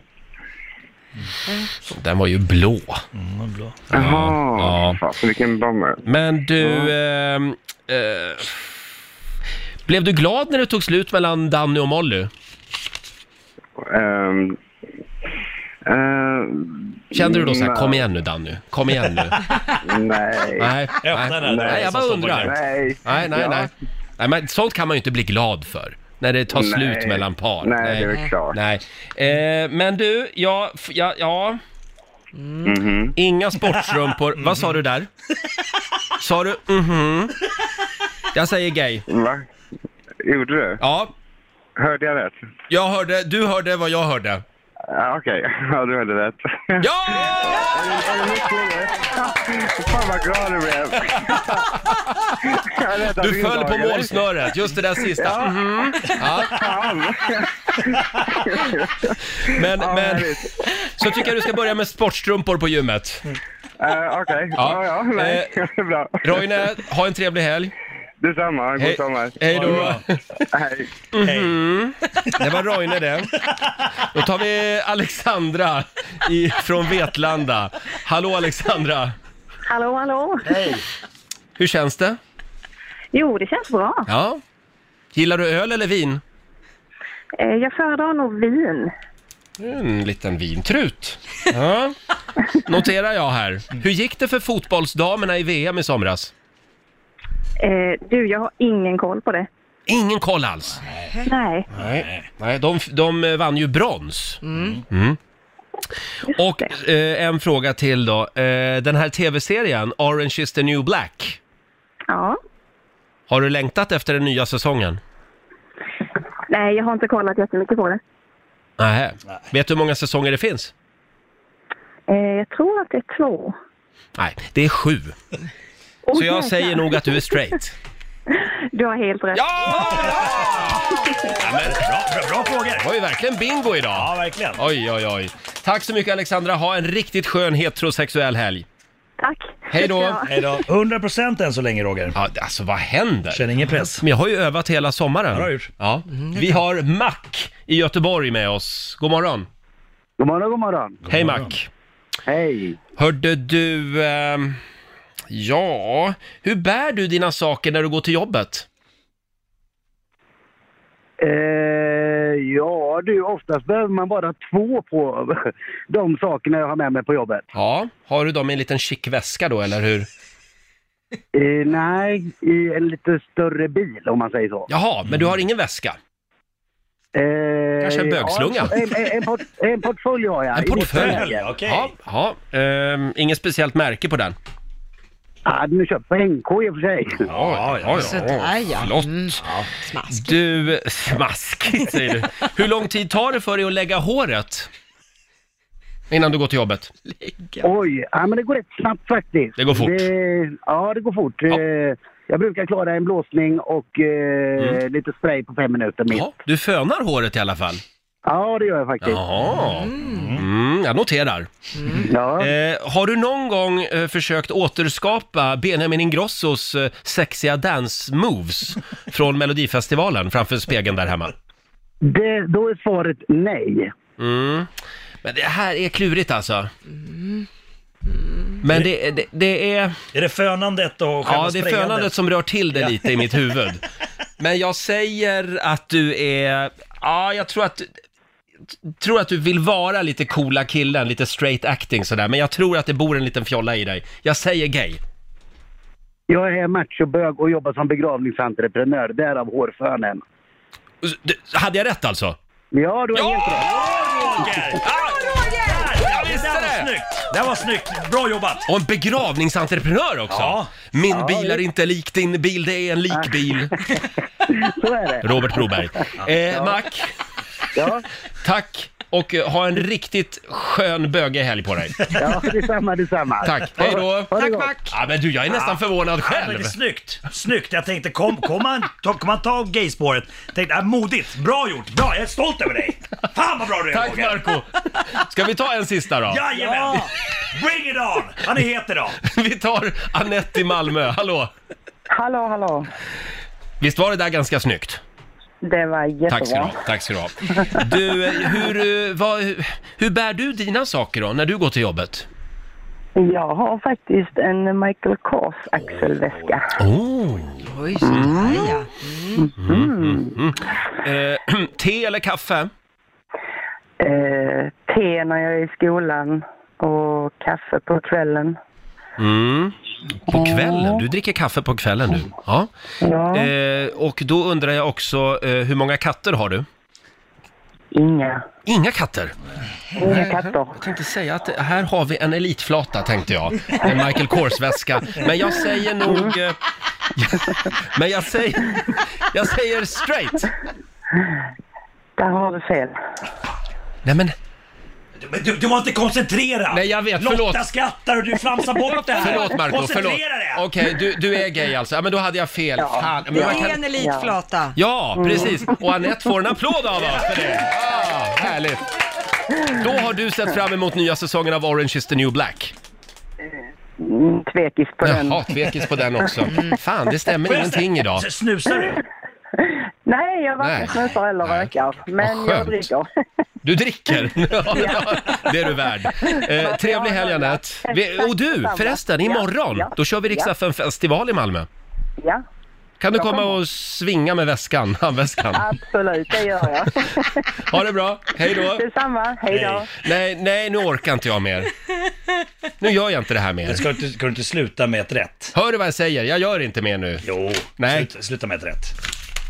S1: Den var ju blå.
S4: Mm,
S10: Jaha.
S1: Ja.
S10: Fasen vilken bummer.
S1: Men du... ehm, eh, blev du glad när det tog slut mellan Danny och Molly?
S10: Ehm, ehm,
S1: Kände du då så här,
S10: nej,
S1: kom igen nu Danny, kom igen nu.
S10: Nej.
S1: Nej,
S6: Öppna
S1: nej.
S6: den.
S1: nej jag bara undrar.
S10: Nej.
S1: Nej, nej,
S10: Ja.
S1: nej. nej men sånt kan man ju inte bli glad för. När det tar
S10: Nej.
S1: slut mellan par.
S10: Nej, det är väl klart.
S1: Nej. Eh, men du, ja, f- ja, ja.
S10: Mm. Mhm.
S1: Inga sportstrumpor. Vad sa du där? Sa du mhm? Jag säger gay.
S10: Va? Gjorde du?
S1: Ja,
S10: Hörde jag rätt?
S1: jag hörde, du hörde vad jag hörde.
S10: Ja, Okej, ja, du hörde rätt.
S1: Ja!
S10: Fan vad glad du blev. Jag räddade
S1: Du
S10: din
S1: föll
S10: dag,
S1: på
S10: eller?
S1: målsnöret, just det där sista. Mhm. Ja.
S10: Fan.
S1: Men,
S10: Ja,
S1: men,
S10: härligt.
S1: så tycker jag du ska börja med sportstrumpor på gymmet. Eh,
S10: Eh, Okej, ja, ja, nej. bra.
S1: Roine, ha en trevlig helg.
S10: Detsamma, god
S1: Hej-
S10: sommar.
S1: Hej då.
S10: Hej.
S1: Det var Roine det. Då tar vi Alexandra i, från Vetlanda. Hallå Alexandra!
S4: Hallå, hallå.
S1: Hur känns det?
S4: Jo, det känns bra.
S1: Ja, Gillar du öl eller vin?
S9: Eh, Jag föredrar nog vin.
S1: En liten vintrut. Ja. Noterar jag här. Hur gick det för fotbollsdamerna i VM i somras?
S9: Eh, Du, jag har ingen koll på det.
S1: Ingen koll alls.
S9: Nej.
S1: Nej, Nej de, de eh, vann ju brons. Mm. Och eh, en fråga till då. Eh, den här tv-serien, Orange is the new black.
S9: Ja.
S1: Har du längtat efter den nya säsongen?
S9: Nej, jag har inte kollat jättemycket på det.
S1: Nej. Vet du hur många säsonger det finns?
S9: Eh, Jag tror att det är två.
S1: Nej, det är sju.
S9: Åh,
S1: Så jag
S9: jäklar.
S1: säger nog att du är straight.
S9: Du har helt rätt.
S1: Ja! ja men,
S6: Bra, bra, bra frågor!
S1: det var ju verkligen bingo
S6: Ja,
S1: idag.
S6: verkligen.
S1: Oj, oj, oj. Tack så mycket Alexandra. Ha en riktigt skön heterosexuell helg.
S9: Tack.
S1: Hej då.
S9: Ja.
S6: Hej då. 100% än så länge Roger.
S1: Ja, alltså vad händer?
S6: Känner ingen press.
S1: Men jag har ju övat hela sommaren.
S6: Ja, Mm, det har du
S1: Ja.
S6: gjort.
S1: Vi har Mac i Göteborg med oss. God morgon.
S10: God morgon, god morgon.
S1: Hej
S6: morgon.
S1: Mac.
S10: Hej.
S1: Hörde du... ehm, ja, hur bär du dina saker när du går till jobbet?
S10: Eh, ja, du, oftast behöver man bara två på de sakerna jag har med mig på jobbet.
S1: Ja, har du dem i en liten chic väska då, eller hur?
S10: Eh, nej, i en lite större bil om man säger så.
S1: Jaha, men du har ingen väska?
S10: Eh,
S1: Kanske en bögslunga.
S10: Ja, en, en, en, port, en portfölj har jag.
S1: En
S10: i mitt
S1: portfölj?
S10: läge.
S6: Okej.
S1: Ja, ja ehm, inget speciellt märke på den?
S10: Ja, den är köpt på NK i och för sig.
S1: Ja, ja,
S2: Sådär, ja.
S1: Förlåt.
S2: Mm.
S1: Du, smaskigt säger du. Hur lång tid tar det för dig att lägga håret? Innan du går till jobbet?
S10: Oj, ja, men det går rätt snabbt faktiskt.
S1: Det går fort.
S10: Det, ja, det går fort.
S1: Ja.
S10: Eh, Jag brukar klara en blåsning och eh, lite spray på fem minuter minst.
S1: Mm. Ja, du fönar håret i alla fall?
S10: Ja, det gör jag faktiskt.
S1: Jaha. Mm, jag noterar.
S2: Mm.
S10: Ja.
S1: Eh, har du någon gång eh, försökt återskapa Benjamin Ingrossos eh, sexiga dance moves från Melodifestivalen framför spegeln där hemma?
S10: Det, då är svaret nej.
S1: Mm. Men det här är klurigt alltså. Men det, det, det är...
S6: Är det fönandet och själva
S1: Ja, det är
S6: sprayandet?
S1: fönandet som rör till det lite i mitt huvud. Men jag säger att du är... Ja, jag tror att... jag Tror att du vill vara lite coola killen, lite straight acting sådär, men jag tror att det bor en liten fjolla i dig. Jag säger gay.
S10: Jag är machobög och jobbar som begravningsentreprenör, därav hårfönen.
S1: Du, hade jag rätt alltså?
S10: Ja, du har helt rätt.
S6: Roger!
S1: Jag
S6: Det
S1: visste
S6: där var
S1: det!
S6: snyggt! Det där var snyggt! Bra jobbat!
S1: Och en begravningsentreprenör också!
S6: Ja.
S1: Min bil är inte lik din bil, det är en likbil.
S10: Så är det.
S1: Robert Broberg. Eh, Mac,
S10: Ja,
S1: tack och eh, ha en riktigt skön bögehelg på dig.
S10: ja detsamma, detsamma.
S1: Tack, hej då!
S10: Ha det
S2: Tack
S10: gott.
S2: Mac!
S1: Ja, men du, jag är nästan förvånad
S6: Ja, men
S1: själv.
S6: det är snyggt! Snyggt! Jag tänkte, kom, kom man, ta, kom man ta gayspåret? Tänkte, äh, modigt! Bra gjort! Bra! Jag är stolt över dig! Fan vad bra du är
S1: Tack
S6: Roger!
S1: Marco Ska vi ta en sista då?
S6: Jajamän! Bring it on! Han är het idag!
S1: Vi tar Anette i Malmö, hallå!
S9: Hallå, hallå.
S1: Visst var det där ganska snyggt?
S9: Det var jättebra.
S1: Tack ska du ha. Tack ska du ha. Du, eh, hur, eh, vad, hur bär du dina saker då, när du går till jobbet?
S9: Jag har faktiskt en Michael Kors axelväska.
S1: Oh.
S2: Oj, sådär ja.
S1: Mm. Eh, te eller kaffe?
S9: Eh, te när jag är i skolan och kaffe på kvällen.
S1: Mm. På kvällen? Du dricker kaffe på kvällen nu? Ja.
S9: Ja,
S1: Eh, och då undrar jag också, eh, hur många katter har du?
S9: inga,
S1: Inga katter?
S9: inga katter.
S1: Jag tänkte säga att här har vi en elitflata tänkte jag. En Michael Kors-väska. Men jag säger nog... eh, Men jag säger, jag säger straight.
S9: Där har du fel.
S1: Nej men,
S6: Men du, du var inte koncentrerad!
S1: Nej, jag vet.
S6: Lotta
S1: Förlåt.
S6: skrattar och du flamsar bort det här!
S1: förlåt Marco, förlåt.
S6: Koncentrera dig!
S1: Okej, du, du är gay alltså. Ja men då hade jag fel. Fan. Men
S2: Det
S1: man
S2: är
S1: kan...
S2: en elitflata.
S1: Ja, precis. Och Anette får en applåd av oss för det. Ja, härligt. Då har du sett fram emot nya säsongen av Orange is the new black.
S9: Mm, Tvekis på den. Mm.
S1: Jaha, tvekis på den också. Fan, det stämmer
S6: Får jag
S1: ingenting
S6: säga-
S1: idag.
S6: S- Snusar du?
S9: Nej, jag
S1: Nej.
S9: varken snusar eller
S1: Nej.
S9: rökar. Men
S1: Vad
S9: jag
S1: skönt.
S9: dricker.
S1: Du dricker? Ja, det är du värd. Eh, trevlig helg Anette. Vi- Och du, förresten, imorgon,
S9: Ja.
S1: då kör vi riksdagen festival i Malmö.
S9: Ja,
S1: Kan du komma och svinga med väskan, handväskan?
S9: Absolut, det gör jag.
S1: Ha det bra, hej då!
S9: Detsamma, hej då.
S1: Nej, nej, nu orkar inte jag mer. Nu gör jag inte det här
S6: Jag
S1: mer.
S6: ska inte, kan du inte sluta med ett rätt?
S1: Hör du vad jag säger? Jag gör inte mer nu.
S6: Jo,
S1: Nej.
S6: Sluta, sluta med ett rätt.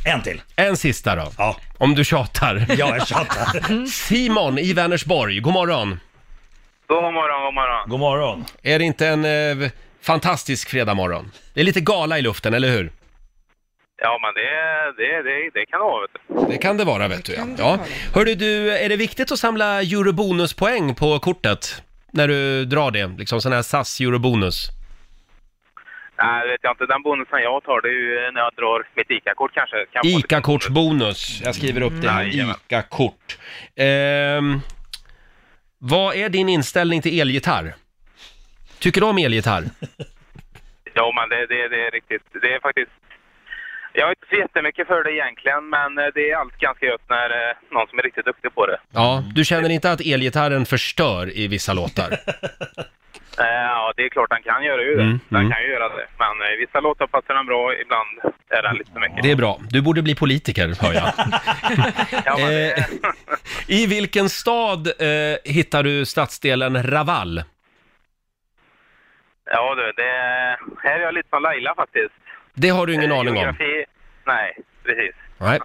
S6: En till.
S1: En sista då,
S6: Ja,
S1: om du tjatar.
S6: ja jag tjatar.
S1: Simon i Vänersborg, god morgon.
S7: God morgon, god morgon.
S6: God morgon.
S1: Är det inte en eh, fantastisk fredagmorgon? Det är lite gala i luften, eller hur?
S7: Ja, men det, det, det, det kan det vara. vet du.
S1: Det kan det vara, vet du. Ja.
S2: kan det
S1: Ja.
S2: vara.
S1: Hörru du, är det viktigt att samla eurobonuspoäng på kortet? När du drar det, liksom sån här SAS eurobonus?
S7: Nej, det vet jag inte. Den bonusen jag tar, det är ju när jag drar mitt ICA-kort kanske. Kan få lite bonus.
S1: ICA-kortsbonus. Jag skriver upp det. här.
S7: Jajamän.
S1: ICA-kort. Ehm, vad är din inställning till elgitarr? Tycker du om elgitarr?
S7: Ja, men det, det, det är riktigt. Det är faktiskt... Jag är inte så jättemycket för det egentligen, men eh, det är alltid ganska gött när eh, någon som är riktigt duktig på det.
S1: Ja, du känner inte att elgitarren förstör i vissa låtar?
S7: Eh, Ja, det är klart den kan göra ju det.
S1: Mm,
S7: Den
S1: mm.
S7: kan ju göra det. Men eh, vissa låtar passar den bra, ibland är den lite för mycket.
S1: Det är bra. Du borde bli politiker, hör jag.
S7: Ja, men det...
S1: Eh, I vilken stad eh, hittar du stadsdelen Raval?
S7: ja du, det... Här är jag lite som Laila faktiskt.
S1: Det har du ingen
S7: Eh,
S1: aning om.
S7: Geografi... Nej, precis.
S1: Nej.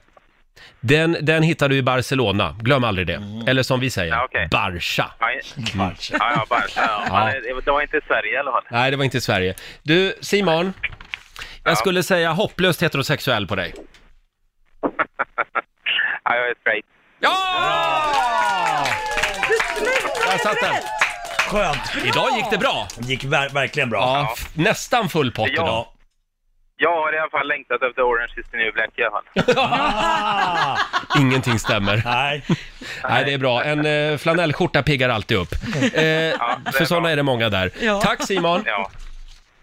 S1: Den, den hittar du i Barcelona, glöm aldrig det. Eller som vi säger,
S7: Mm. Ja, okej.
S1: Barca.
S7: Ja,
S6: Kanske.
S7: ja, ja, bara, ja. Men det- Det var inte i Sverige i alla fall.
S1: Nej, det var inte i Sverige. Du, Simon. Jag skulle säga hopplöst heterosexuell på dig.
S7: Ja, jag är straight.
S1: Ja! Där satt den.
S6: Skönt.
S1: Idag gick det bra.
S6: Gick ver- verkligen bra.
S1: Ja, f- nästan full pott
S7: Ja.
S1: idag.
S7: Jag har i alla fall längtat efter Orange is the new black i alla fall.
S6: Ah,
S1: Ingenting stämmer.
S6: nej.
S1: Nej, det är bra. En eh, flanellskjorta piggar alltid upp. Eh, för
S7: bra.
S1: sådana är det många där.
S2: Ja.
S1: Tack Simon!
S7: Ja.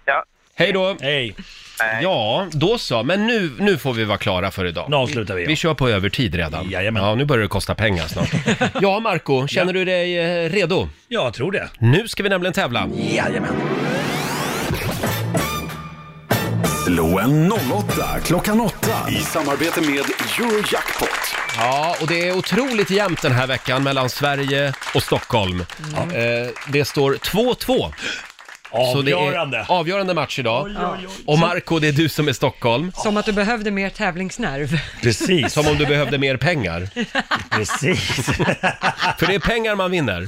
S7: Ja.
S1: Hej då!
S6: Hej.
S1: Ja, då så. Men nu, nu får vi vara klara för idag.
S6: Nu avslutar vi.
S1: Vi kör på övertid redan.
S6: Jajamän.
S1: Ja, nu börjar det kosta pengar snart. Ja, Marco, känner du dig eh, redo?
S6: Ja, jag tror det.
S1: Nu ska vi nämligen tävla.
S6: Jajamän.
S3: Slå en 08 klockan 8 i samarbete med Eurojackpot.
S1: Ja, och det är otroligt jämnt den här veckan mellan Sverige och Stockholm. Eh, det står 2-2. Så det är
S6: Avgörande.
S1: avgörande match idag. Och Marco, det är du som är Stockholm.
S2: Som att du behövde mer tävlingsnerv.
S6: Precis.
S1: Som om du behövde mer pengar.
S6: Precis.
S1: För det är pengar man vinner.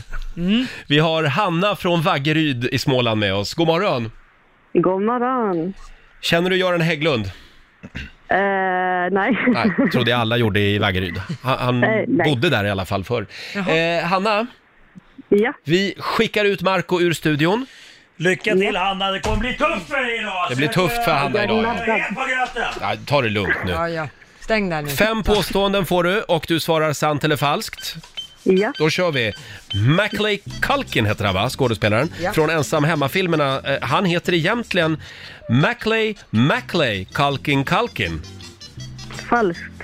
S1: Vi har Hanna från Vaggeryd i Småland med oss. God morgon!
S4: God morgon.
S1: Känner du Göran Hägglund?
S4: Eh, nej.
S1: Nej, trodde jag alla gjorde i Vaggeryd. Han, han
S4: Eh, nej.
S1: bodde där i alla fall förr. Eh, Hanna,
S4: ja.
S1: vi skickar ut Marco ur studion.
S6: Lycka till Hanna, det kommer bli tufft för dig idag!
S1: Det blir tufft för Hanna idag. Ja.
S6: Ren på gröten!
S1: Ja, ta det lugnt nu.
S2: Ja, ja. Stäng där nu.
S1: Mm. Fem påståenden får du och du svarar sant eller falskt.
S4: Ja.
S1: Då kör vi. Macaulay Culkin heter han va, skådespelaren?
S2: Ja.
S1: Från Ensam Hemma-filmerna. Eh, Han heter egentligen Macaulay Macaulay Culkin Culkin.
S4: Falskt.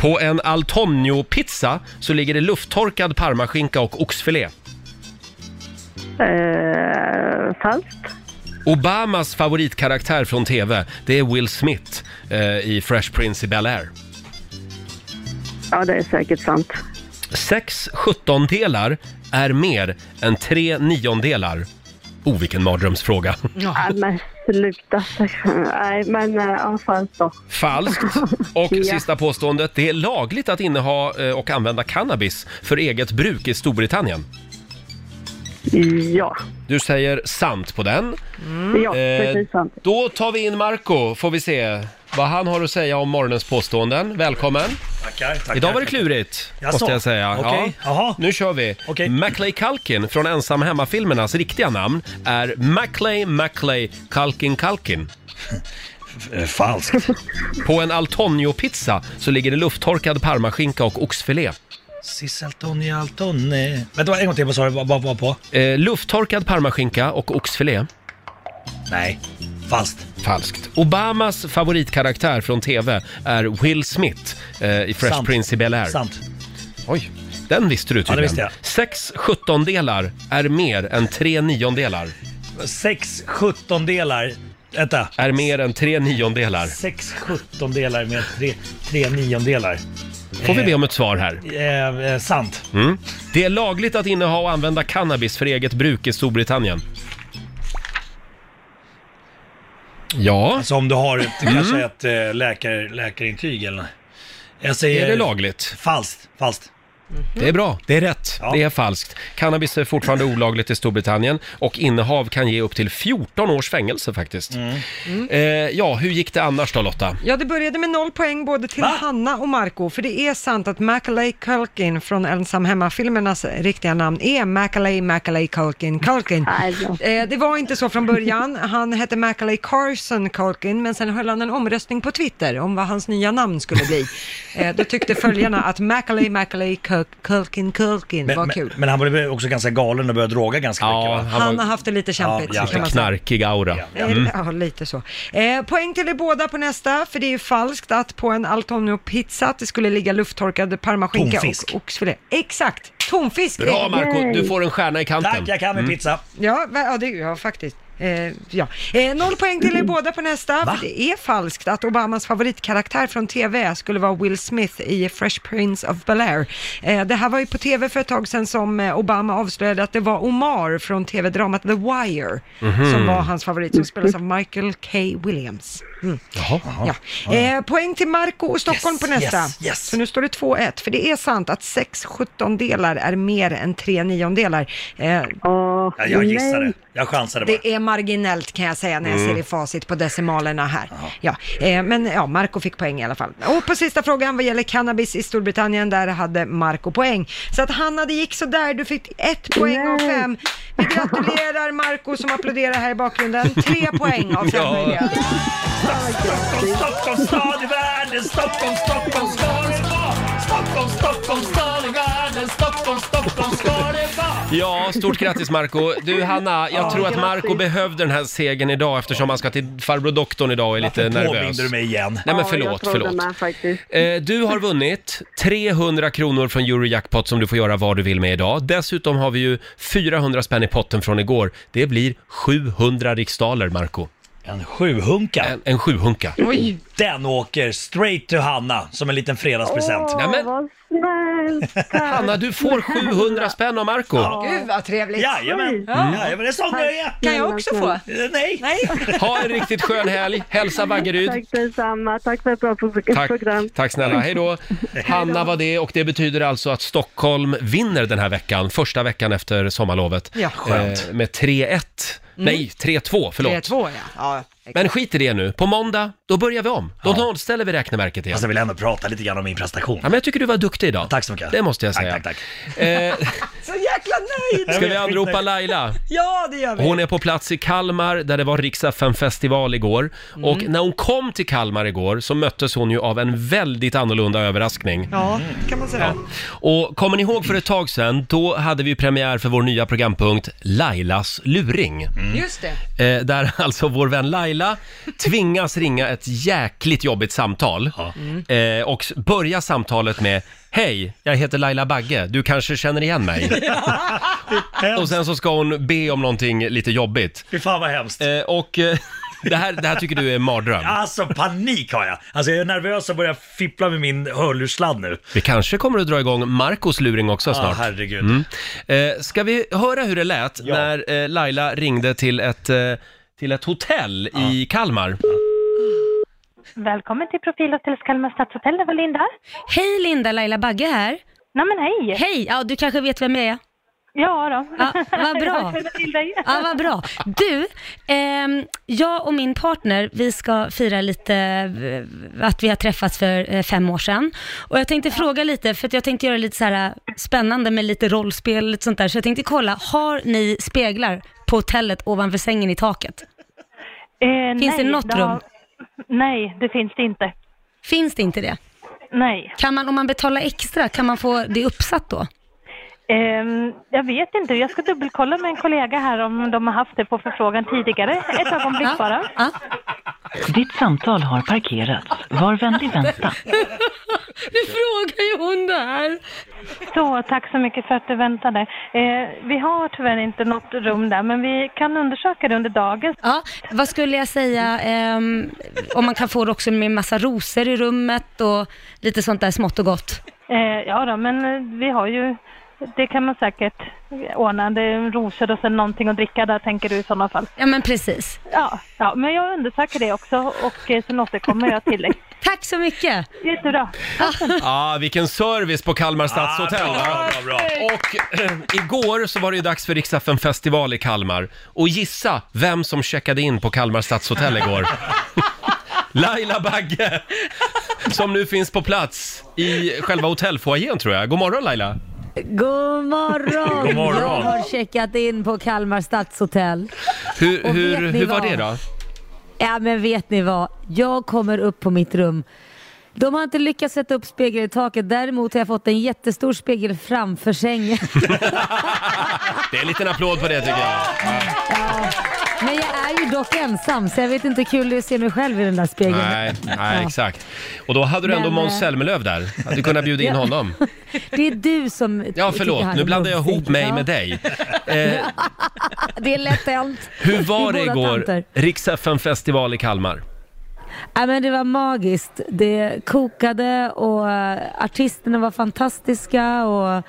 S1: På en Al Tonio-pizza så ligger det lufttorkad parmaskinka och oxfilé.
S4: Eh, falskt.
S1: Obamas favoritkaraktär från TV, det är Will Smith eh, i Fresh Prince i Bel-Air.
S4: Ja, det är säkert sant.
S1: Sex sjuttondelar är mer än tre niondelar. Oh, vilken mardrömsfråga.
S4: Nej, Äh, men sluta. Nej, men eh, ja, falskt då.
S1: Falskt. Och
S4: Ja.
S1: sista påståendet, det är lagligt att inneha eh, och använda cannabis för eget bruk i Storbritannien.
S4: Ja. Mm.
S1: Du säger sant på den.
S4: Ja,
S1: Eh,
S4: precis sant.
S1: då tar vi in Marco, får vi se vad han har att säga om morgonens påståenden. Välkommen!
S6: Tackar, tackar.
S1: Idag var det klurigt,
S6: Jaså?
S1: måste jag säga.
S6: Okej, jaha.
S1: Nu kör vi.
S6: Okej.
S1: Maclay Culkin från Ensam Hemma-filmernas riktiga namn är Maclay Maclay Culkin Culkin.
S6: Eh, Falskt.
S1: På en Altonio-pizza så ligger det lufttorkad parmaskinka och oxfilé.
S6: Sisseltoni Altone. Vänta, en gång till, vad sa du? Vad vad var på?
S1: Eh, lufttorkad parmaskinka och oxfilé.
S6: Nej. Falskt.
S1: Falskt. Obamas favoritkaraktär från TV är Will Smith eh, i Fresh
S6: Sant.
S1: Prince i Bel-Air.
S6: Sant.
S1: Oj, den visste du
S6: Ja, det
S1: tydligen.
S6: visste jag.
S1: Sex sjuttondelar är mer än tre niondelar.
S6: Sex sjuttondelar Vänta.
S1: är mer än tre niondelar.
S6: Sex sjuttondelar med tre, tre niondelar.
S1: Får vi be om ett svar här?
S6: Eh, eh, sant.
S1: Mm. Det är lagligt att inneha och använda cannabis för eget bruk i Storbritannien. Ja, Mm.
S6: Alltså om du har ett, kanske ett eh, läkar, läkarintyg eller Jag säger...
S1: är det lagligt?
S6: Falskt. Falskt.
S1: Det är bra, det är rätt.
S6: Ja.
S1: Det är falskt. Cannabis är fortfarande olagligt i Storbritannien och innehav kan ge upp till 14 års fängelse faktiskt.
S6: Mm.
S1: Eh, ja, hur gick det annars då Lotta?
S2: Ja, det började med noll poäng både till
S6: Va?
S2: Hanna och Marco för det är sant att Macaulay Culkin från Ensam Hemma-filmernas riktiga namn är Macaulay Macaulay Culkin Culkin. Eh, det var inte så från början. Han hette Macaulay Carson Culkin, men sen höll han en omröstning på Twitter om vad hans nya namn skulle bli. Eh, då tyckte följarna att Macaulay Macaulay Cul- Culkin Culkin
S6: Men,
S2: var
S6: men,
S2: kul.
S6: men han var väl också ganska galen och började droga ganska mycket va?
S1: han
S2: Han har
S1: var
S2: haft det lite kämpigt,
S6: Ja,
S2: kan man säga.
S1: knarkig aura.
S2: Eh, Ja, lite så. Eh, poäng till er båda på nästa, för det är ju falskt att på en Altonio-pizza att det skulle ligga lufttorkad parmaskinka
S6: Tonfisk.
S2: och oxfilé. Exakt, tonfisk!
S1: Bra Marco, du får en stjärna i
S6: Tack,
S1: kanten. Mm.
S6: jag kan min pizza.
S2: Ja, va- ja, det, ja faktiskt. Eh, ja. eh, noll poäng till er
S6: Mm.
S2: båda på nästa, för det är falskt att Obamas favoritkaraktär från TV skulle vara Will Smith i Fresh Prince of Bel-Air. Eh, det här var ju på TV för ett tag sedan som eh, Obama avslöjade att det var Omar från TV-dramat The Wire
S1: Mhm.
S2: som var hans favorit, som spelas av Michael K. Williams. Mm. Ja. Eh, poäng till Marco och Stockholm
S6: Yes,
S2: på nästa.
S6: yes, yes.
S2: Så nu står det 2-1, för det är sant att 6 sjuttondelar är mer än 3 niondelar. Eh,
S4: Åh,
S6: Ja, jag gissade.
S4: nej.
S6: Jag chansade bara.
S2: det är marginellt kan jag säga när
S1: Mm.
S2: jag ser i facit på decimalerna här. Ja. eh, Men ja, Marco fick poäng i alla fall. Och på sista frågan vad gäller cannabis i Storbritannien, där hade Marco poäng. Så att Hanna, det gick sådär. Du fick ett poäng av fem. Vi gratulerar Marco som applåderar här i bakgrunden. Tre poäng av fem
S1: Ja.
S2: möjliga.
S6: Stockholm, Stockholm stad i världen, Stockholm, Stockholm ska det vara. Stockholm, Stockholm stad i världen, Stockholm, Stockholm ska det vara.
S1: Ja, stort grattis Marco. Du Hanna, jag tror att Marco behövde den här segern idag eftersom han ska till farbror doktorn idag och är lite nervös.
S6: Påminde du mig igen?
S1: Nej men
S4: Ja, jag
S1: förlåt,
S4: tror
S1: förlåt.
S4: den Är, faktiskt.
S1: Eh, Du har vunnit 300 kronor från Eurojackpot som du får göra vad du vill med idag. Dessutom har vi ju 400 spänn i potten från igår. Det blir 700 riksdaler, Marco.
S6: En sjuhunka.
S1: En, en sjuhunka.
S2: Oj,
S6: Den åker straight to Hanna som en liten fredagspresent.
S1: Nej, men-
S4: Vad snällt.
S1: Hanna, du får 700 spänn av Marco.
S2: gud vad trevligt.
S6: Jajamän, Jajamän, det är
S4: Mm.
S6: sån jag är.
S11: Kan jag också få?
S6: Eh, Nej.
S2: Nej.
S1: Ha en riktigt skön helg. Hälsa Vaggeryd.
S4: Tack detsamma. Tack för ett bra pro-
S1: Tack,
S4: program.
S1: tack snälla, hej då. Hanna var det och det betyder alltså att Stockholm vinner den här veckan, första veckan efter sommarlovet.
S2: Ja.
S1: Eh, med 3-1. Nej, 3-2, förlåt.
S2: Det är Eh, två ja. ja. exakt.
S1: Men skit i det nu. På måndag, då börjar vi om. Då nollställer vi räkneverket igen.
S6: Fast Alltså, jag vill ändå prata lite grann om min prestation.
S1: Ja, men jag tycker du var duktig idag.
S6: Tack så mycket.
S1: Det måste jag
S6: Tack,
S1: säga.
S6: tack, tack.
S1: Eh,
S2: Så jäkla nöjd!
S1: ska vi anropa Laila?
S2: Ja, det gör vi.
S1: Hon är på plats i Kalmar där det var Riksaffen festival igår.
S6: Mm.
S1: Och när hon kom till Kalmar igår så möttes hon ju av en väldigt annorlunda överraskning.
S2: Ja, det kan man säga.
S1: Och kommer ni ihåg för ett tag sedan, då hade vi premiär för vår nya programpunkt Lailas luring.
S6: Mm.
S2: Just det.
S1: Eh, där alltså vår vän Laila tvingas ringa ett jäkligt jobbigt samtal. Eh, och s- börja samtalet med Hej, jag heter Laila Bagge, du kanske känner igen mig? och sen så ska hon be om någonting lite jobbigt.
S6: Fy fan vad hemskt.
S1: Eh, och eh, det, här, det här tycker du är en mardröm.
S6: Alltså panik har jag. Alltså jag är nervös och börjar fippla med min hörlurssladd nu.
S1: Vi kanske kommer att dra igång Marcos luring också
S6: Ja,
S1: snart.
S6: herregud.
S1: Eh, ska vi höra hur det lät när eh, Laila ringde till ett, eh, till ett hotell i Kalmar?
S11: Välkommen till Profilhotellet Kalmar stadshotell, det var Linda.
S8: Hej Linda, Laila Bagge här.
S11: Nej men hej!
S8: Hej, ja du kanske vet vem jag är?
S11: Ja då.
S8: Ja, vad bra.
S11: Jag känner till dig.
S8: Ja, vad bra. Du, ehm, jag och min partner, vi ska fira lite eh, att vi har träffats för eh, fem år sedan. Och jag tänkte fråga lite, för att jag tänkte göra lite så här eh, spännande med lite rollspel och lite sånt där. Så jag tänkte kolla, har ni speglar på hotellet ovanför sängen i taket?
S11: Eh,
S8: Finns det
S11: nej,
S8: något rum?
S11: Nej, det finns det inte.
S8: Finns det inte det?
S11: Nej.
S8: Kan man, om man betalar extra, kan man få det uppsatt då?
S11: Ehm, jag vet inte, jag ska dubbelkolla med en kollega här om de har haft det på förfrågan tidigare. Ett ögonblick bara.
S8: Ja.
S5: Ditt samtal har parkerats. Var vänlig vänta.
S8: Nu frågar ju hon det här.
S11: Så, tack så mycket för att du väntade. Eh, vi har tyvärr inte något rum där, men vi kan undersöka det under dagen.
S8: Ja, vad skulle jag säga, ehm, om man kan få det också med massa rosor i rummet och lite sånt där smått och gott.
S11: Eh, ja då, men eh, vi har ju, det kan man säkert ordna. Det är rosor och sen någonting att dricka där, tänker du i sådana fall.
S8: Ja, men precis.
S11: Ja, ja men jag undersöker det också och eh, sen återkommer jag till dig.
S8: Tack så mycket!
S11: Jättebra.
S1: Ja, Ah, vilken service på Kalmar stadshotell.
S6: Ah, bra,
S1: va?
S6: bra, bra.
S1: Och eh, igår så var det ju dags för Riksdagen festival i Kalmar. Och gissa vem som checkade in på Kalmar stadshotell igår? Laila Bagge, som nu finns på plats i själva hotellfoajén tror jag. God morgon Laila!
S12: God morgon!
S1: God morgon.
S12: Jag har checkat in på Kalmar stadshotell.
S1: Hur,
S12: Och
S1: hur,
S12: vet ni
S1: hur var
S12: vad?
S1: det då?
S12: Ja men vet ni vad? Jag kommer upp på mitt rum. De har inte lyckats sätta upp spegel i taket, däremot har jag fått en jättestor spegel framför sängen.
S1: Det är en liten applåd på det tycker jag.
S12: Men jag är ju dock ensam så jag vet inte hur kul det är att se mig själv i den där spegeln.
S1: Nej, nej
S12: Ja.
S1: exakt. Och då hade du ändå
S12: Men,
S1: Måns
S12: eh,
S1: Zelmerlöw där. Hade du kunnat bjuda in
S12: Ja.
S1: honom.
S12: Det är du som
S1: Ja,
S12: tycker
S1: förlåt.
S12: han
S1: Nu
S12: är
S1: blandar jag ihop
S12: mumsig.
S1: mig
S12: Ja.
S1: med dig. Eh,
S12: Det är lätt hänt.
S1: hur var
S12: Vi
S1: det
S12: är båda
S1: igår?
S12: tanter.
S1: Riks festival i Kalmar.
S12: Ja, men det var magiskt. Det kokade och eh, artisterna var fantastiska och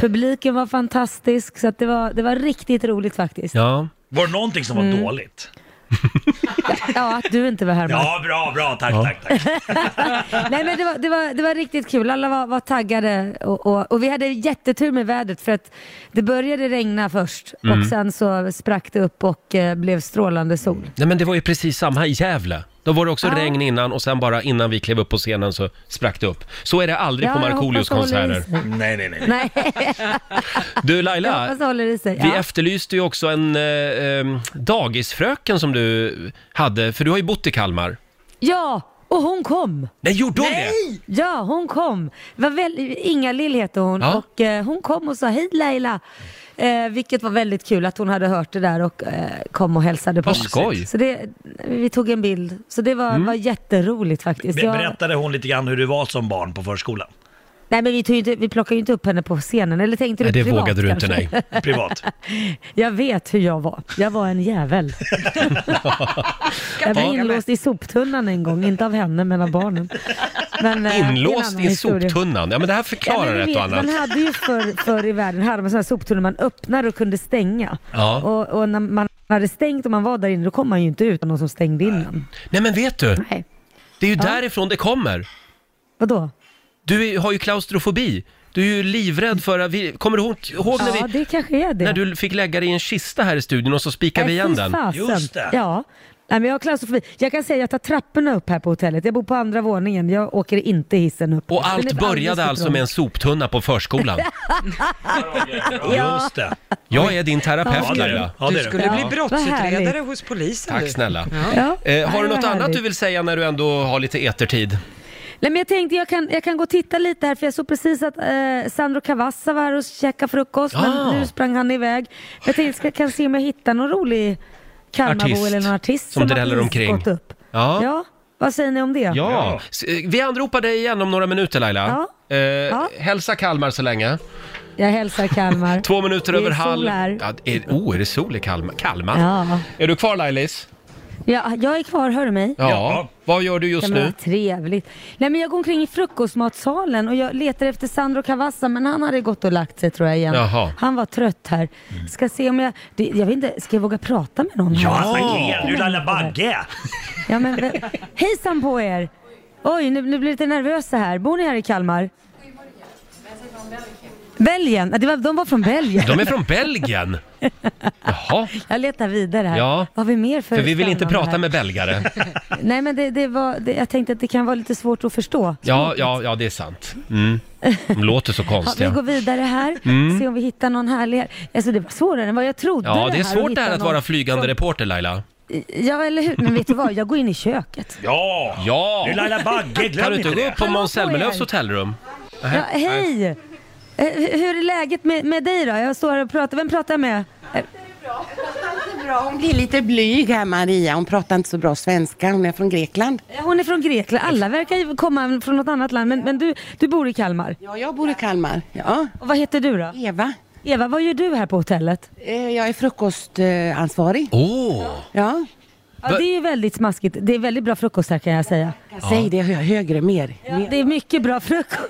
S12: publiken var fantastisk. Så att det, var, det var riktigt roligt faktiskt.
S1: Ja.
S6: Var det någonting som var
S12: Mm.
S6: dåligt?
S12: Ja, att du inte var här.
S6: Ja, bra, bra, tack, tack, tack.
S12: Nej, men det var, det, var, det var riktigt kul. Alla var, var taggade och, och, och vi hade jättetur med vädret för att det började regna först
S1: Mm.
S12: och sen så sprack det upp och eh, blev strålande sol.
S1: Nej men det var ju precis samma i Gävle. Då var det också regn innan och sen bara innan vi klev upp på scenen så sprack det upp. Så är det aldrig
S12: Ja,
S1: på
S12: jag hoppas
S1: Markoolios
S12: det håller
S1: konserter.
S12: i sig.
S6: Nej, nej, nej.
S12: Nej,
S1: Du
S12: jag
S1: Laila,
S12: hoppas det håller i sig.
S1: vi
S12: Ja.
S1: efterlyste ju också en eh, eh, dagisfröken som du hade, för du har ju bott i Kalmar.
S12: ja, och hon kom!
S1: Nej, gjorde hon
S12: Nej! Ja, hon kom. Det var väl, Inga Lill heter hon
S1: Ja.
S12: och eh, hon kom och sa hej Laila. Eh, vilket var väldigt kul att hon hade hört det där och eh, kom och hälsade på
S6: Vad
S12: oss.
S6: skoj.
S12: Så det, vi tog en bild. Så det var,
S1: Mm.
S12: var jätteroligt faktiskt.
S6: Be-
S12: Jag-
S6: Berättade hon lite grann hur du var som barn på förskolan?
S12: Nej men vi, tog ju inte, vi plockade ju inte upp henne på scenen, eller tänkte du privat kanske?
S6: Privat.
S12: Jag vet hur jag var. Jag var en jävel. jag var inlåst i soptunnan en gång, inte av henne men av barnen. Men, eh, det är en
S1: Inlåst
S12: annan
S1: i
S12: historia.
S1: soptunnan. Ja men det här
S12: Ja,
S1: förklarar
S12: men ni
S1: ett och
S12: vet,
S1: annat.
S12: Man hade ju förr, förr i världen hade man sådana soptunnor man öppnade och kunde stänga.
S1: Ja.
S12: Och, och när man hade stängt och man var där inne då kom man ju inte ut utan någon som stängde in en.
S1: Nej men vet du?
S12: Nej.
S1: Det är ju
S12: Ja.
S1: därifrån det kommer.
S12: Vadå?
S1: Du är- har ju klaustrofobi. Du är ju livrädd för att vi... Kommer du ihåg, ihåg när,
S12: Ja,
S1: vi,
S12: det kanske är det.
S1: när du fick lägga dig i en kista här i studion och så spikade vi
S12: Nej,
S1: igen
S12: fy
S1: den?
S12: fasen. Ja. Nej, men jag har klaustrofobi. Jag kan säga att jag tar trapporna upp här på hotellet. Jag bor på andra våningen. Jag åker inte hissen upp.
S1: Och
S12: Den är
S1: allt
S12: alldeles
S1: började
S12: för
S1: alltså
S12: trång.
S1: med en soptunna på förskolan.
S6: Just det.
S1: Jag är din
S6: Ja,
S1: terapeut
S6: det är
S1: Laila.
S6: du. Ja, det är
S2: Du skulle bli
S12: Vad
S2: brottsutredare
S12: härligt.
S2: hos polisen
S1: Tack
S2: du.
S1: snälla.
S12: Ja.
S1: Eh, har du
S12: Nej, vad
S1: något annat
S12: härligt.
S1: du vill säga när du ändå har lite etertid?
S12: Nej, men jag tänkte jag kan, jag kan gå och titta lite här för jag såg precis att eh, Sandro Cavazza var här och käkade frukost
S1: Ah.
S12: men nu sprang han iväg. Jag tänkte jag kan se om jag hittar någon rolig Kalmarbo
S1: Artist
S12: eller någon artist
S1: som
S12: har
S1: dräller
S12: precis
S1: omkring.
S12: gått upp.
S1: Ja.
S12: Ja. vad säger ni om det?
S1: Ja. S- eh, Vi anropar dig igen om några minuter Laila. Eh, Hälsa Kalmar så länge.
S12: Jag hälsar Kalmar.
S1: Två minuter
S12: Det är
S1: över
S12: sol
S1: halv...
S12: här.
S1: Ja, är, oh, är det sol i Kalmar? Kalmar?
S12: Ja.
S1: Är du kvar Lailis?
S12: Ja, jag är kvar, hör du mig?
S1: Ja. Vad gör du just
S12: Ja, men
S1: nu?
S12: vad trevligt. Nej, men jag går omkring i frukostmatsalen och jag letar efter Sandro Cavazza men han hade gått och lagt sig tror jag igen.
S1: Jaha.
S12: Han var trött här. Ska se om jag... Det, jag vet inte, ska jag våga prata med någon?
S6: Mm. Ja,
S12: här?
S6: vad är du Laila Bagge?
S12: Ja, men, vä- hejsan på er! Oj, nu, nu blir jag lite nervös så här. Bor ni här i Kalmar? Belgien? Ja, det var, de var från Belgien.
S1: De är från Belgien. Jaha,
S12: Jag letar vidare här.
S1: Ja.
S12: Vad har vi mer för
S1: för vi vill inte
S12: spännande
S1: prata
S12: här?
S1: med belgare.
S12: Nej, men det, det var, det, jag tänkte att det kan vara lite svårt att förstå.
S1: Ja, ja, ja, det är sant. Mm. De låter så
S12: Ja, vi går
S1: konstiga.
S12: vidare här,
S1: Mm.
S12: se om vi hittar någon härlig här. Alltså det var svårare än vad jag trodde
S1: Ja, det är svårt det
S12: hitta
S1: här att
S12: någon
S1: vara flygande
S12: som-
S1: reporter Laila.
S12: Ja, eller hur? Men vet du vad? Jag går in i köket.
S1: Ja! Ja!
S6: Du, Laila Bagge, glöm
S1: Kan du inte
S6: inte
S1: gå
S6: det.
S1: upp på
S12: Hallå
S1: Måns
S12: på er.
S1: Zelmerlöws hotellrum?
S12: Ja,
S1: Nej.
S12: hej! Eh, Hur är läget med, med dig då? Jag står här och pratar. Vem pratar jag med? Eh,
S13: bra. Hon blir lite blyg här Maria. Hon pratar inte så bra svenska. Hon är från Grekland.
S12: Eh, Hon är från Grekland. Alla verkar ju komma från något annat land. Men, men du, du bor i Kalmar?
S13: Ja, jag bor i Kalmar. Ja.
S12: Och vad heter du då?
S13: Eva.
S12: Eva, vad gör du här på hotellet?
S13: Eh, Jag är frukostansvarig.
S1: Åh!
S13: Ja.
S12: Ja, det är ju väldigt smaskigt. Det är väldigt bra frukost här kan jag säga.
S13: Säg det hö- högre mer.
S12: Ja, det är mycket bra frukost.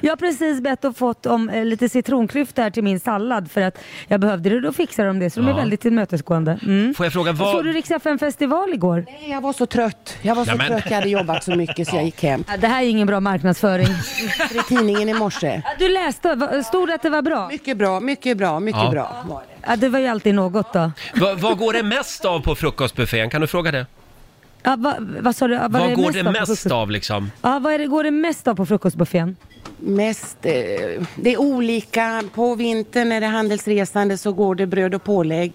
S12: Jag har precis bett och fått om eh, lite citronklyfta här till min sallad för att jag behövde det. Då fixar de det. Så de
S1: Ja.
S12: är väldigt tillmötesgående. Mm.
S1: Får jag fråga vad...
S12: Såg du Rix festival igår?
S13: Nej, jag var så trött. Jag var så
S1: Jamen.
S13: trött. Jag hade jobbat så mycket så jag gick hem.
S12: Ja, det här är ingen bra marknadsföring.
S13: I tidningen i morse.
S12: Ja, Du läste, Va- stod det att det var bra?
S13: Mycket bra, mycket bra, mycket
S1: Ja.
S13: bra. var det.
S12: Ja, det var ju alltid något då.
S1: Va, vad går det mest av på frukostbuffén? Kan du fråga det?
S12: Ja, va, vad sa du? Ja, vad
S1: vad
S12: är
S1: går det
S12: av på
S1: mest
S12: frukost-
S1: av liksom?
S12: Ja, vad är det, går det mest av på frukostbuffén?
S13: Mest, eh, det är olika. På vintern när det är handelsresande så går det bröd och pålägg.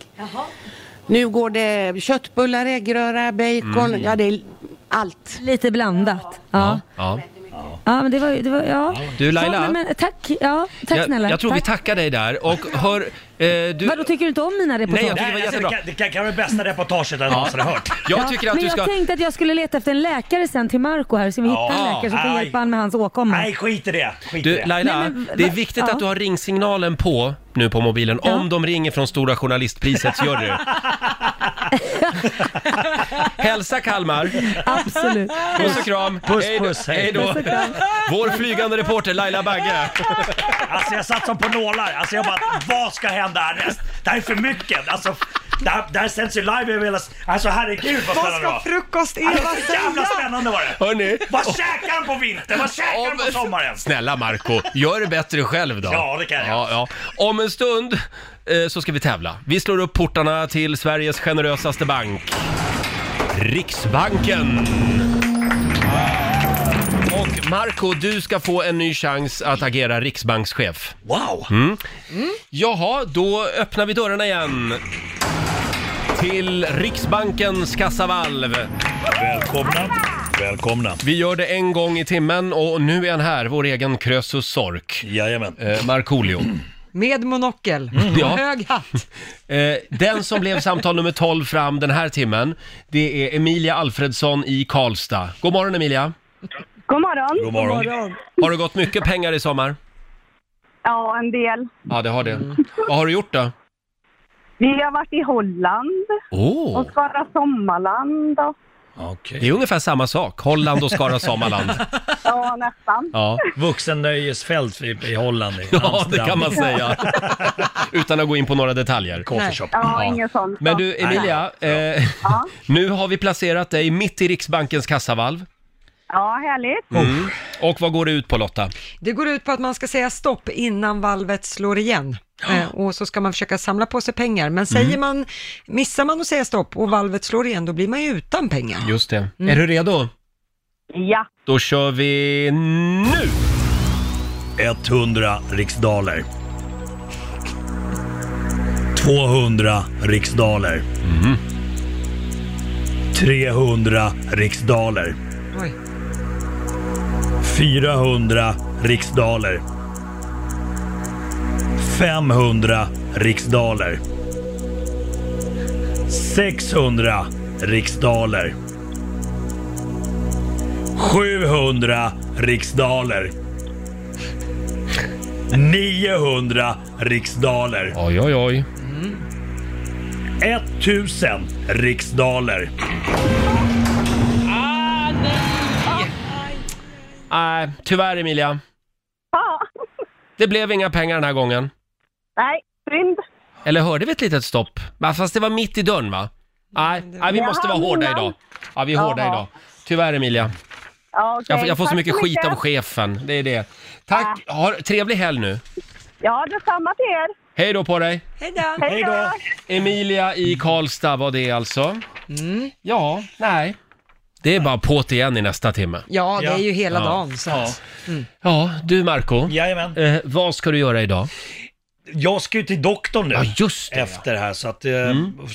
S13: Nu går det köttbullar, äggröra, bacon.
S12: Mm.
S13: Ja, det är allt.
S12: Lite blandat. Ja,
S1: Ja.
S12: ja. men det var ju... Det var, ja.
S1: Du, Laila?
S12: Ja, men, tack, ja, tack
S1: jag,
S12: snälla.
S1: jag tror vi
S12: Tack.
S1: tackar dig där och hör... Eh, du...
S12: Vadå, tycker du inte om mina reportage?
S1: Nej, jag tycker det var jättebra.
S6: alltså, Det kan, det kan vara det bästa reportaget jag någonsin har hört.
S1: Jag tycker att
S12: men
S1: du
S12: jag
S1: ska...
S12: tänkte att jag skulle leta efter en läkare sen till Marco här, så vi
S1: Ja.
S12: hittar en läkare som kan
S1: Aj.
S12: hjälpa honom med hans åkomma.
S6: Nej, skit i det. Skit i
S1: Du
S6: det.
S1: Laila,
S12: Nej, men-
S1: det är
S12: va-
S1: viktigt
S12: ja.
S1: att du har ringsignalen på nu på mobilen.
S12: Ja.
S1: Om de ringer från Stora Journalistprisets jury. Hälsa Kalmar.
S12: Absolut.
S1: Puss och kram.
S6: Puss,
S1: Hej då-
S6: puss, hej.
S1: Hej då.
S6: Puss och kram.
S1: Vår flygande reporter Laila Bagge.
S6: Alltså jag satt som på nålar. Alltså jag bara, vad ska hända härnäst? Det här är för mycket. Alltså, det här, det här sänds ju live över hela... s- Alltså herregud vad
S2: Vad
S6: spännande det
S2: ska
S6: var.
S2: frukost-Eva
S6: Alltså, så jävla
S2: säga?
S6: spännande var det.
S1: Hörni.
S6: Vad käkar han på vintern? Vad käkar han på sommaren?
S1: Snälla Marco, gör det bättre själv då.
S6: Ja, det kan jag.
S1: Ja, ja. Om en stund eh, så ska vi tävla. Vi slår upp portarna till Sveriges generösaste bank. Riksbanken. Och Marco, du ska få en ny chans att agera riksbankschef.
S6: Wow!
S1: Mm. Jaha, då öppnar vi dörrarna igen. Till Riksbankens kassavalv.
S6: Välkomna. Välkomna.
S1: Vi gör det en gång i timmen och nu är han här, vår egen Krösus Sork.
S6: Jajamän.
S1: Eh, Markoolio.
S2: Med monokel
S1: Mm.
S2: och
S1: Ja.
S2: hög hatt.
S1: Eh, den som blev samtal nummer 12 fram den här timmen, det är Emilia Alfredsson i Karlstad. God morgon Emilia!
S14: God morgon.
S1: God morgon. God morgon. Har det gått mycket pengar i sommar?
S14: Ja, en del.
S1: Ja, det har det. Vad har du gjort då?
S14: Vi har varit i Holland
S1: Åh!
S14: och Skara Sommarland. Och,
S1: Det är ungefär samma sak. Holland och Skara Sommarland.
S14: ja, nästan.
S1: Ja.
S6: Vuxennöjesfält i, i Holland. I
S1: Ja, det kan man säga. Utan att gå in på några detaljer.
S6: Coffeeshop.
S14: Ja,
S1: Ja.
S14: ingen sån.
S1: Men du Emilia, eh, nu har vi placerat dig mitt i Riksbankens kassavalv.
S14: Ja, härligt.
S1: Mm. Och vad går det ut på Lotta?
S2: Oh. Det går ut på att man ska säga stopp innan valvet slår igen. Eh, Och så ska man försöka samla på sig pengar. Men säger
S1: Mm.
S2: man, missar man att säga stopp och valvet slår igen, då blir man ju utan pengar.
S1: Just det. Är du redo?
S14: Ja.
S1: Då kör vi nu!
S6: 100 riksdaler. 200 riksdaler.
S1: Mhm.
S6: 300 riksdaler.
S2: Oj.
S6: 400 riksdaler. 500 riksdaler. 600 riksdaler. 700 riksdaler. 900 riksdaler.
S1: Oj, oj, oj.
S6: 1000 riksdaler.
S1: Nej, tyvärr Emilia.
S14: Ja.
S1: Det blev inga pengar den här gången.
S14: Nej, synd.
S1: Eller hörde vi ett litet stopp? Va, Fast det var mitt i dörren va? Nej,
S2: Mm,
S1: nej vi
S14: Jag
S1: måste vara
S14: hann
S1: hårda
S14: innan.
S1: idag. Ja, vi är hårda
S14: Jaha.
S1: idag. Tyvärr Emilia.
S14: Ja, okej.
S1: Jag, får- jag får så
S14: Tack
S1: mycket skit av
S14: mycket.
S1: chefen. Det är det. Tack! Ha, trevlig helg nu.
S14: Ja, detsamma till er.
S1: Hej då på dig!
S2: Hej då!
S14: Hej då!
S1: Emilia i Karlstad var det alltså.
S2: Mm.
S1: Ja, nej. Det är bara på't igen i nästa timme.
S2: Ja, det är ju hela
S1: Ja.
S2: dagen. Så. att- Mm.
S1: Ja, du Marco.
S6: Jajamän.
S1: Eh, vad ska du göra idag?
S6: Jag ska ju till doktorn nu
S1: just
S6: efter här så att eh,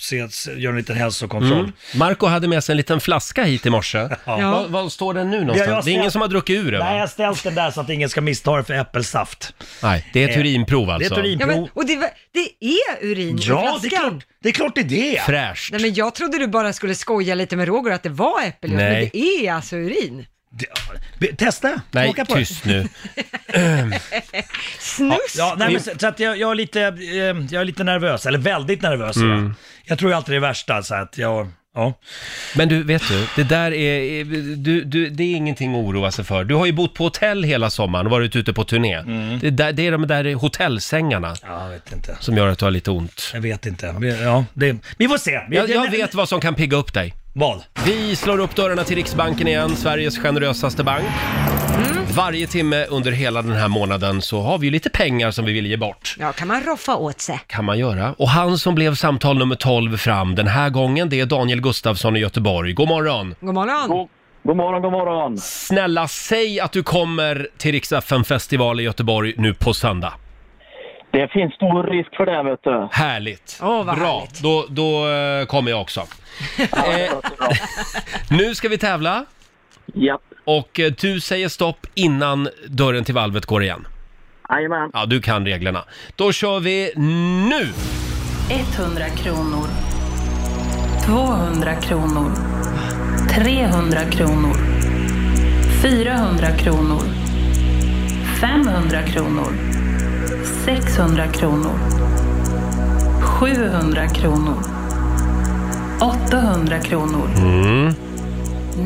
S6: se, se, gör en liten hälsokontroll.
S1: Mm. Marco hade med sig en liten flaska hit i morse.
S6: Ja.
S1: Var, var står den nu
S6: Ja,
S1: någonstans?
S6: jag
S1: det är ingen
S6: ser-
S1: som har druckit ur den
S6: Nej, jag
S1: va?
S6: har ställt den där så att ingen ska missta det för äppelsaft.
S1: Nej, det är ett
S6: Eh,
S1: urinprov alltså.
S6: Det är ett
S2: Ja,
S6: urinprov.
S2: men, och det, var- det är urin i
S6: Ja, det är
S2: flaskan.
S6: klart det är, klart det, är det.
S1: Fräscht.
S2: Nej, men jag trodde du bara skulle skoja lite med Roger att det var äppeljuice, men
S1: Nej.
S2: det är alltså urin.
S6: Be- Testa,
S1: Nej,
S6: smaka på det.
S1: tyst nu.
S2: Snusk!
S6: Ja, nej, men, så, så att jag, jag, är lite, eh, jag är lite nervös, eller väldigt nervös. är Jag.
S1: Mm.
S6: jag tror ju alltid det värsta, så att jag... Ja.
S1: Men du, vet du, det där är, är- du, du, det är ingenting att oroa sig för. Du har ju bott på hotell hela sommaren och varit ute på turné.
S6: Mm.
S1: Det, där, det är de där hotellsängarna
S6: Jag vet inte.
S1: som gör att du har lite ont.
S6: Jag vet inte. Ja, det, vi får se. Vi-
S1: Jag, jag
S6: det-
S1: vet vad som kan pigga upp dig.
S6: Vad?
S1: Vi slår upp dörrarna till Riksbanken igen, Sveriges generösaste bank.
S2: Mm.
S1: Varje timme under hela den här månaden så har vi ju lite pengar som vi vill ge bort.
S2: Ja, kan man roffa åt sig.
S1: kan man göra. Och han som blev samtal nummer 12 fram den här gången, det är Daniel Gustafsson i Göteborg. God morgon!
S2: God morgon! God,
S1: morgon, god morgon! Snälla, säg att du kommer till Rix festival i Göteborg nu på söndag.
S15: Det finns stor risk för det, vet du.
S1: Härligt!
S2: Åh, vad
S1: Bra,
S2: härligt.
S1: då, då eh, kommer jag också. Eh, nu ska vi tävla.
S15: Japp.
S1: Och eh, du säger stopp innan dörren till valvet går igen.
S15: Jajamän.
S1: Ja, du kan reglerna. Då kör vi nu!
S5: 100 kronor. 200 kronor. 300 kronor. 400 kronor. 500 kronor. 600 kronor. 700 kronor. 800 kronor.
S1: Mm.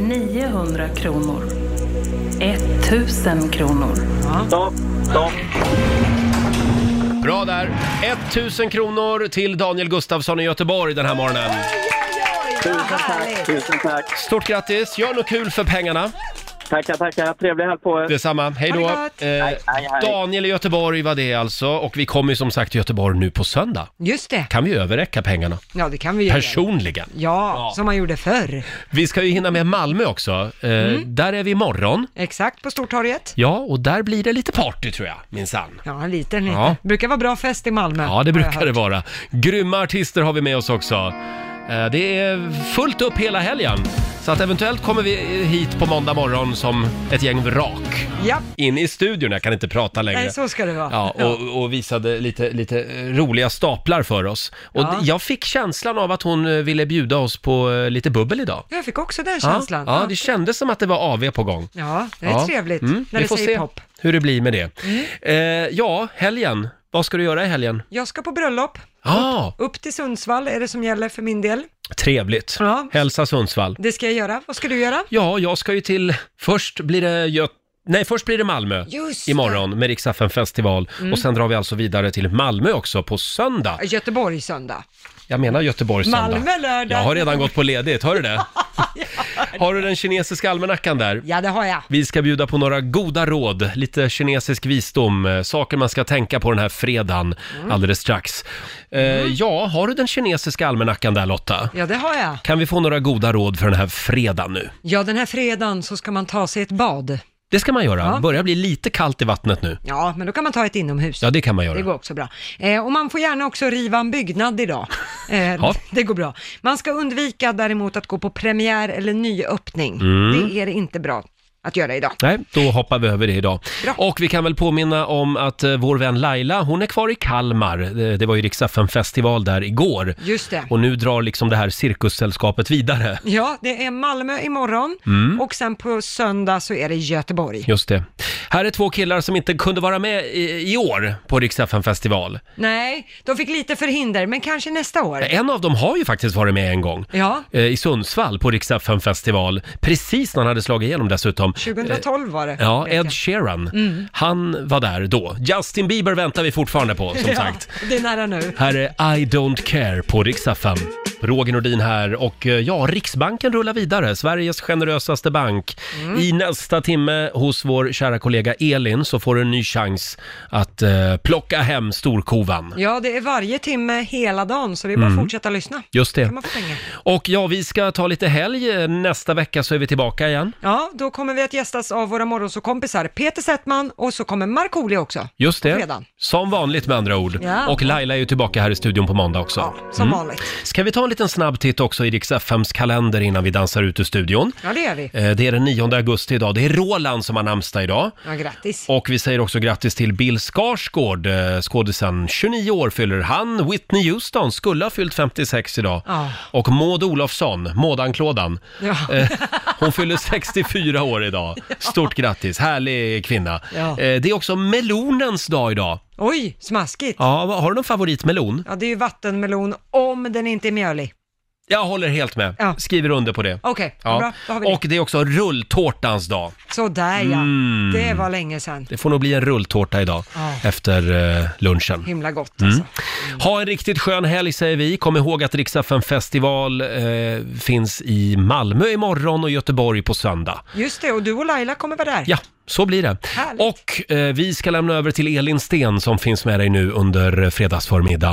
S5: 900 kronor. 1000 kronor.
S15: Stopp, stopp.
S1: Bra där! 1000 kronor till Daniel Gustafsson i Göteborg den här morgonen.
S15: Tusen tack, tusen tack.
S1: Stort grattis! Gör något kul för pengarna.
S15: Tackar, tackar. Trevlig helg på er.
S1: Detsamma. Hej då! Eh,
S15: Ha det gott. Hej, hej, hej.
S1: Daniel i Göteborg var det alltså och vi kommer ju som sagt till Göteborg nu på söndag.
S2: Just det.
S1: Kan vi överräcka pengarna?
S2: Ja, det kan vi göra.
S1: Personligen.
S2: Ja, som man gjorde förr.
S1: Vi ska ju hinna med Malmö också. Eh,
S2: Mm.
S1: Där är vi imorgon.
S2: Exakt, på Stortorget.
S1: Ja, och där blir det lite party tror jag, minsann.
S2: Ja, en liten, liten.
S1: Ja.
S2: Mm. Brukar vara bra fest i Malmö.
S1: Ja,
S2: har
S1: det
S2: jag
S1: brukar det
S2: hört.
S1: vara. Grymma artister har vi med oss också. Eh, Det är fullt upp hela helgen. Så att eventuellt kommer vi hit på måndag morgon som ett gäng vrak.
S2: Ja,
S1: In i studion, jag kan inte prata längre.
S2: nej, så ska det vara.
S1: Ja, och, och visade lite, lite eh, roliga staplar för oss. Och
S2: Ja.
S1: d- jag fick känslan av att hon eh, ville bjuda oss på eh, lite bubbel idag.
S2: Jag fick också den känslan.
S1: Ja,
S2: Ja,
S1: ja, det kändes som att det var AV på gång.
S2: Ja, det är
S1: Ja.
S2: trevligt
S1: Mm,
S2: när
S1: vi
S2: det
S1: får
S2: säger
S1: se
S2: pop. Mm.
S1: hur det blir med det. Eh, ja, helgen. Vad ska du göra i helgen?
S2: Jag ska på bröllop.
S1: Ja,
S2: Upp till Sundsvall är det som gäller för min del.
S1: trevligt.
S2: Ja.
S1: Hälsa Sundsvall.
S2: Det ska jag göra. Vad ska du göra?
S1: Ja, jag ska ju till... Först blir det Gö... Nej, först blir det Malmö
S2: Just det.
S1: imorgon med Rix FM festival
S2: Mm.
S1: och sen drar vi alltså vidare till Malmö också på söndag.
S2: Göteborg söndag.
S1: Jag menar Göteborg söndag.
S2: Malmö lördag.
S1: Jag har redan gått på ledigt, hör du det? Har du den kinesiska almanackan där?
S2: Ja, det har jag.
S1: Vi ska bjuda på några goda råd, lite kinesisk visdom, eh, saker man ska tänka på den här fredagen
S2: Mm.
S1: alldeles strax. Eh, Ja, har du den kinesiska almanackan där Lotta?
S2: Ja, det har jag.
S1: Kan vi få några goda råd för den här fredagen nu?
S2: Ja, den här fredagen så ska man ta sig ett bad.
S1: Det ska man göra.
S2: Ja.
S1: börjar bli lite kallt i vattnet nu.
S2: Ja, men då kan man ta ett inomhus.
S1: Ja, det kan man
S2: Det
S1: göra.
S2: går också bra. Eh, och man får gärna också riva en byggnad idag. Eh,
S1: Ja.
S2: Det går bra. Man ska undvika däremot att gå på premiär eller nyöppning.
S1: Mm.
S2: Det är inte bra att göra idag.
S1: Nej, då hoppar vi över det idag. Och vi kan väl påminna om att eh, vår vän Laila, hon är kvar i Kalmar. Eh, Det var ju Rix festival där igår.
S2: Just det.
S1: Och nu drar liksom det här cirkussällskapet vidare.
S2: Ja, det är Malmö imorgon
S1: Mm.
S2: och sen på söndag så är det Göteborg.
S1: Just det. Här är två killar som inte kunde vara med i, i år på Rix festival.
S2: Nej, de fick lite förhinder, men kanske nästa år.
S1: En av dem har ju faktiskt varit med en gång.
S2: Ja,
S1: eh, I Sundsvall på Rix festival. Precis när han hade slagit igenom dessutom.
S2: 2012 var det.
S1: Eh, Ja, Ed Sheeran.
S2: Mm.
S1: Han var där då. Justin Bieber väntar vi fortfarande på, som sagt.
S2: Ja, det är nära nu.
S1: Här är I Don't Care på Rix FM. Roger Nordin här och eh, ja, Riksbanken rullar vidare, Sveriges generösaste bank.
S2: Mm.
S1: I nästa timme hos vår kära kollega Elin så får du en ny chans att eh, plocka hem storkovan.
S2: Ja, det är varje timme hela dagen, så vi bara
S1: Mm.
S2: fortsätta lyssna.
S1: Just det.
S2: Kan man få pengar.
S1: Och ja, vi ska ta lite helg. Nästa vecka så är vi tillbaka igen.
S2: Ja, då kommer vi att gästas av våra morgonsåkompisar Peter Settman och så kommer Markoolio också.
S1: Just det.
S2: På fredagen.
S1: Som vanligt med andra ord.
S2: Ja.
S1: Och Laila är ju tillbaka här i studion på måndag också. Mm.
S2: som vanligt.
S1: Ska vi ta en liten snabb titt också i Rix FMs kalender innan vi dansar ut ur studion?
S2: Ja, det gör vi.
S1: Eh, Det är den 9 augusti idag. Det är Roland som har namnsdag idag.
S2: Ja, grattis.
S1: Och vi säger också grattis till Bill Skarsgård, eh, skådisen. 29 år fyller han. Whitney Houston skulle ha fyllt 56 idag.
S2: Ja.
S1: Och Maud Olofsson, Mådanklådan.
S2: Ja.
S1: Eh, Hon fyller 64 år idag. Stort grattis, härlig kvinna.
S2: Ja.
S1: Eh, Det är också melonens dag idag.
S2: Oj, smaskigt.
S1: Ja, vad- har du någon favoritmelon?
S2: Ja, det är ju vattenmelon om den inte är mjölig.
S1: Jag håller helt med. Skriver under på det.
S2: Okej, vad bra. Då har vi det.
S1: Och det är också rulltårtans dag.
S2: Sådär ja,
S1: Mm.
S2: det var länge sedan.
S1: Det får nog bli en rulltårta idag
S2: Ja. alltså.
S1: efter eh, lunchen.
S2: Himla gott.
S1: Mm. Ha en riktigt skön helg säger vi. Kom ihåg att Riksdagen festival eh, finns i Malmö imorgon och Göteborg på söndag.
S2: Just det, och du och Laila kommer vara där.
S1: Ja, så blir det. Och eh, vi ska lämna över till Elin Sten som finns med dig nu under fredagsförmiddagen.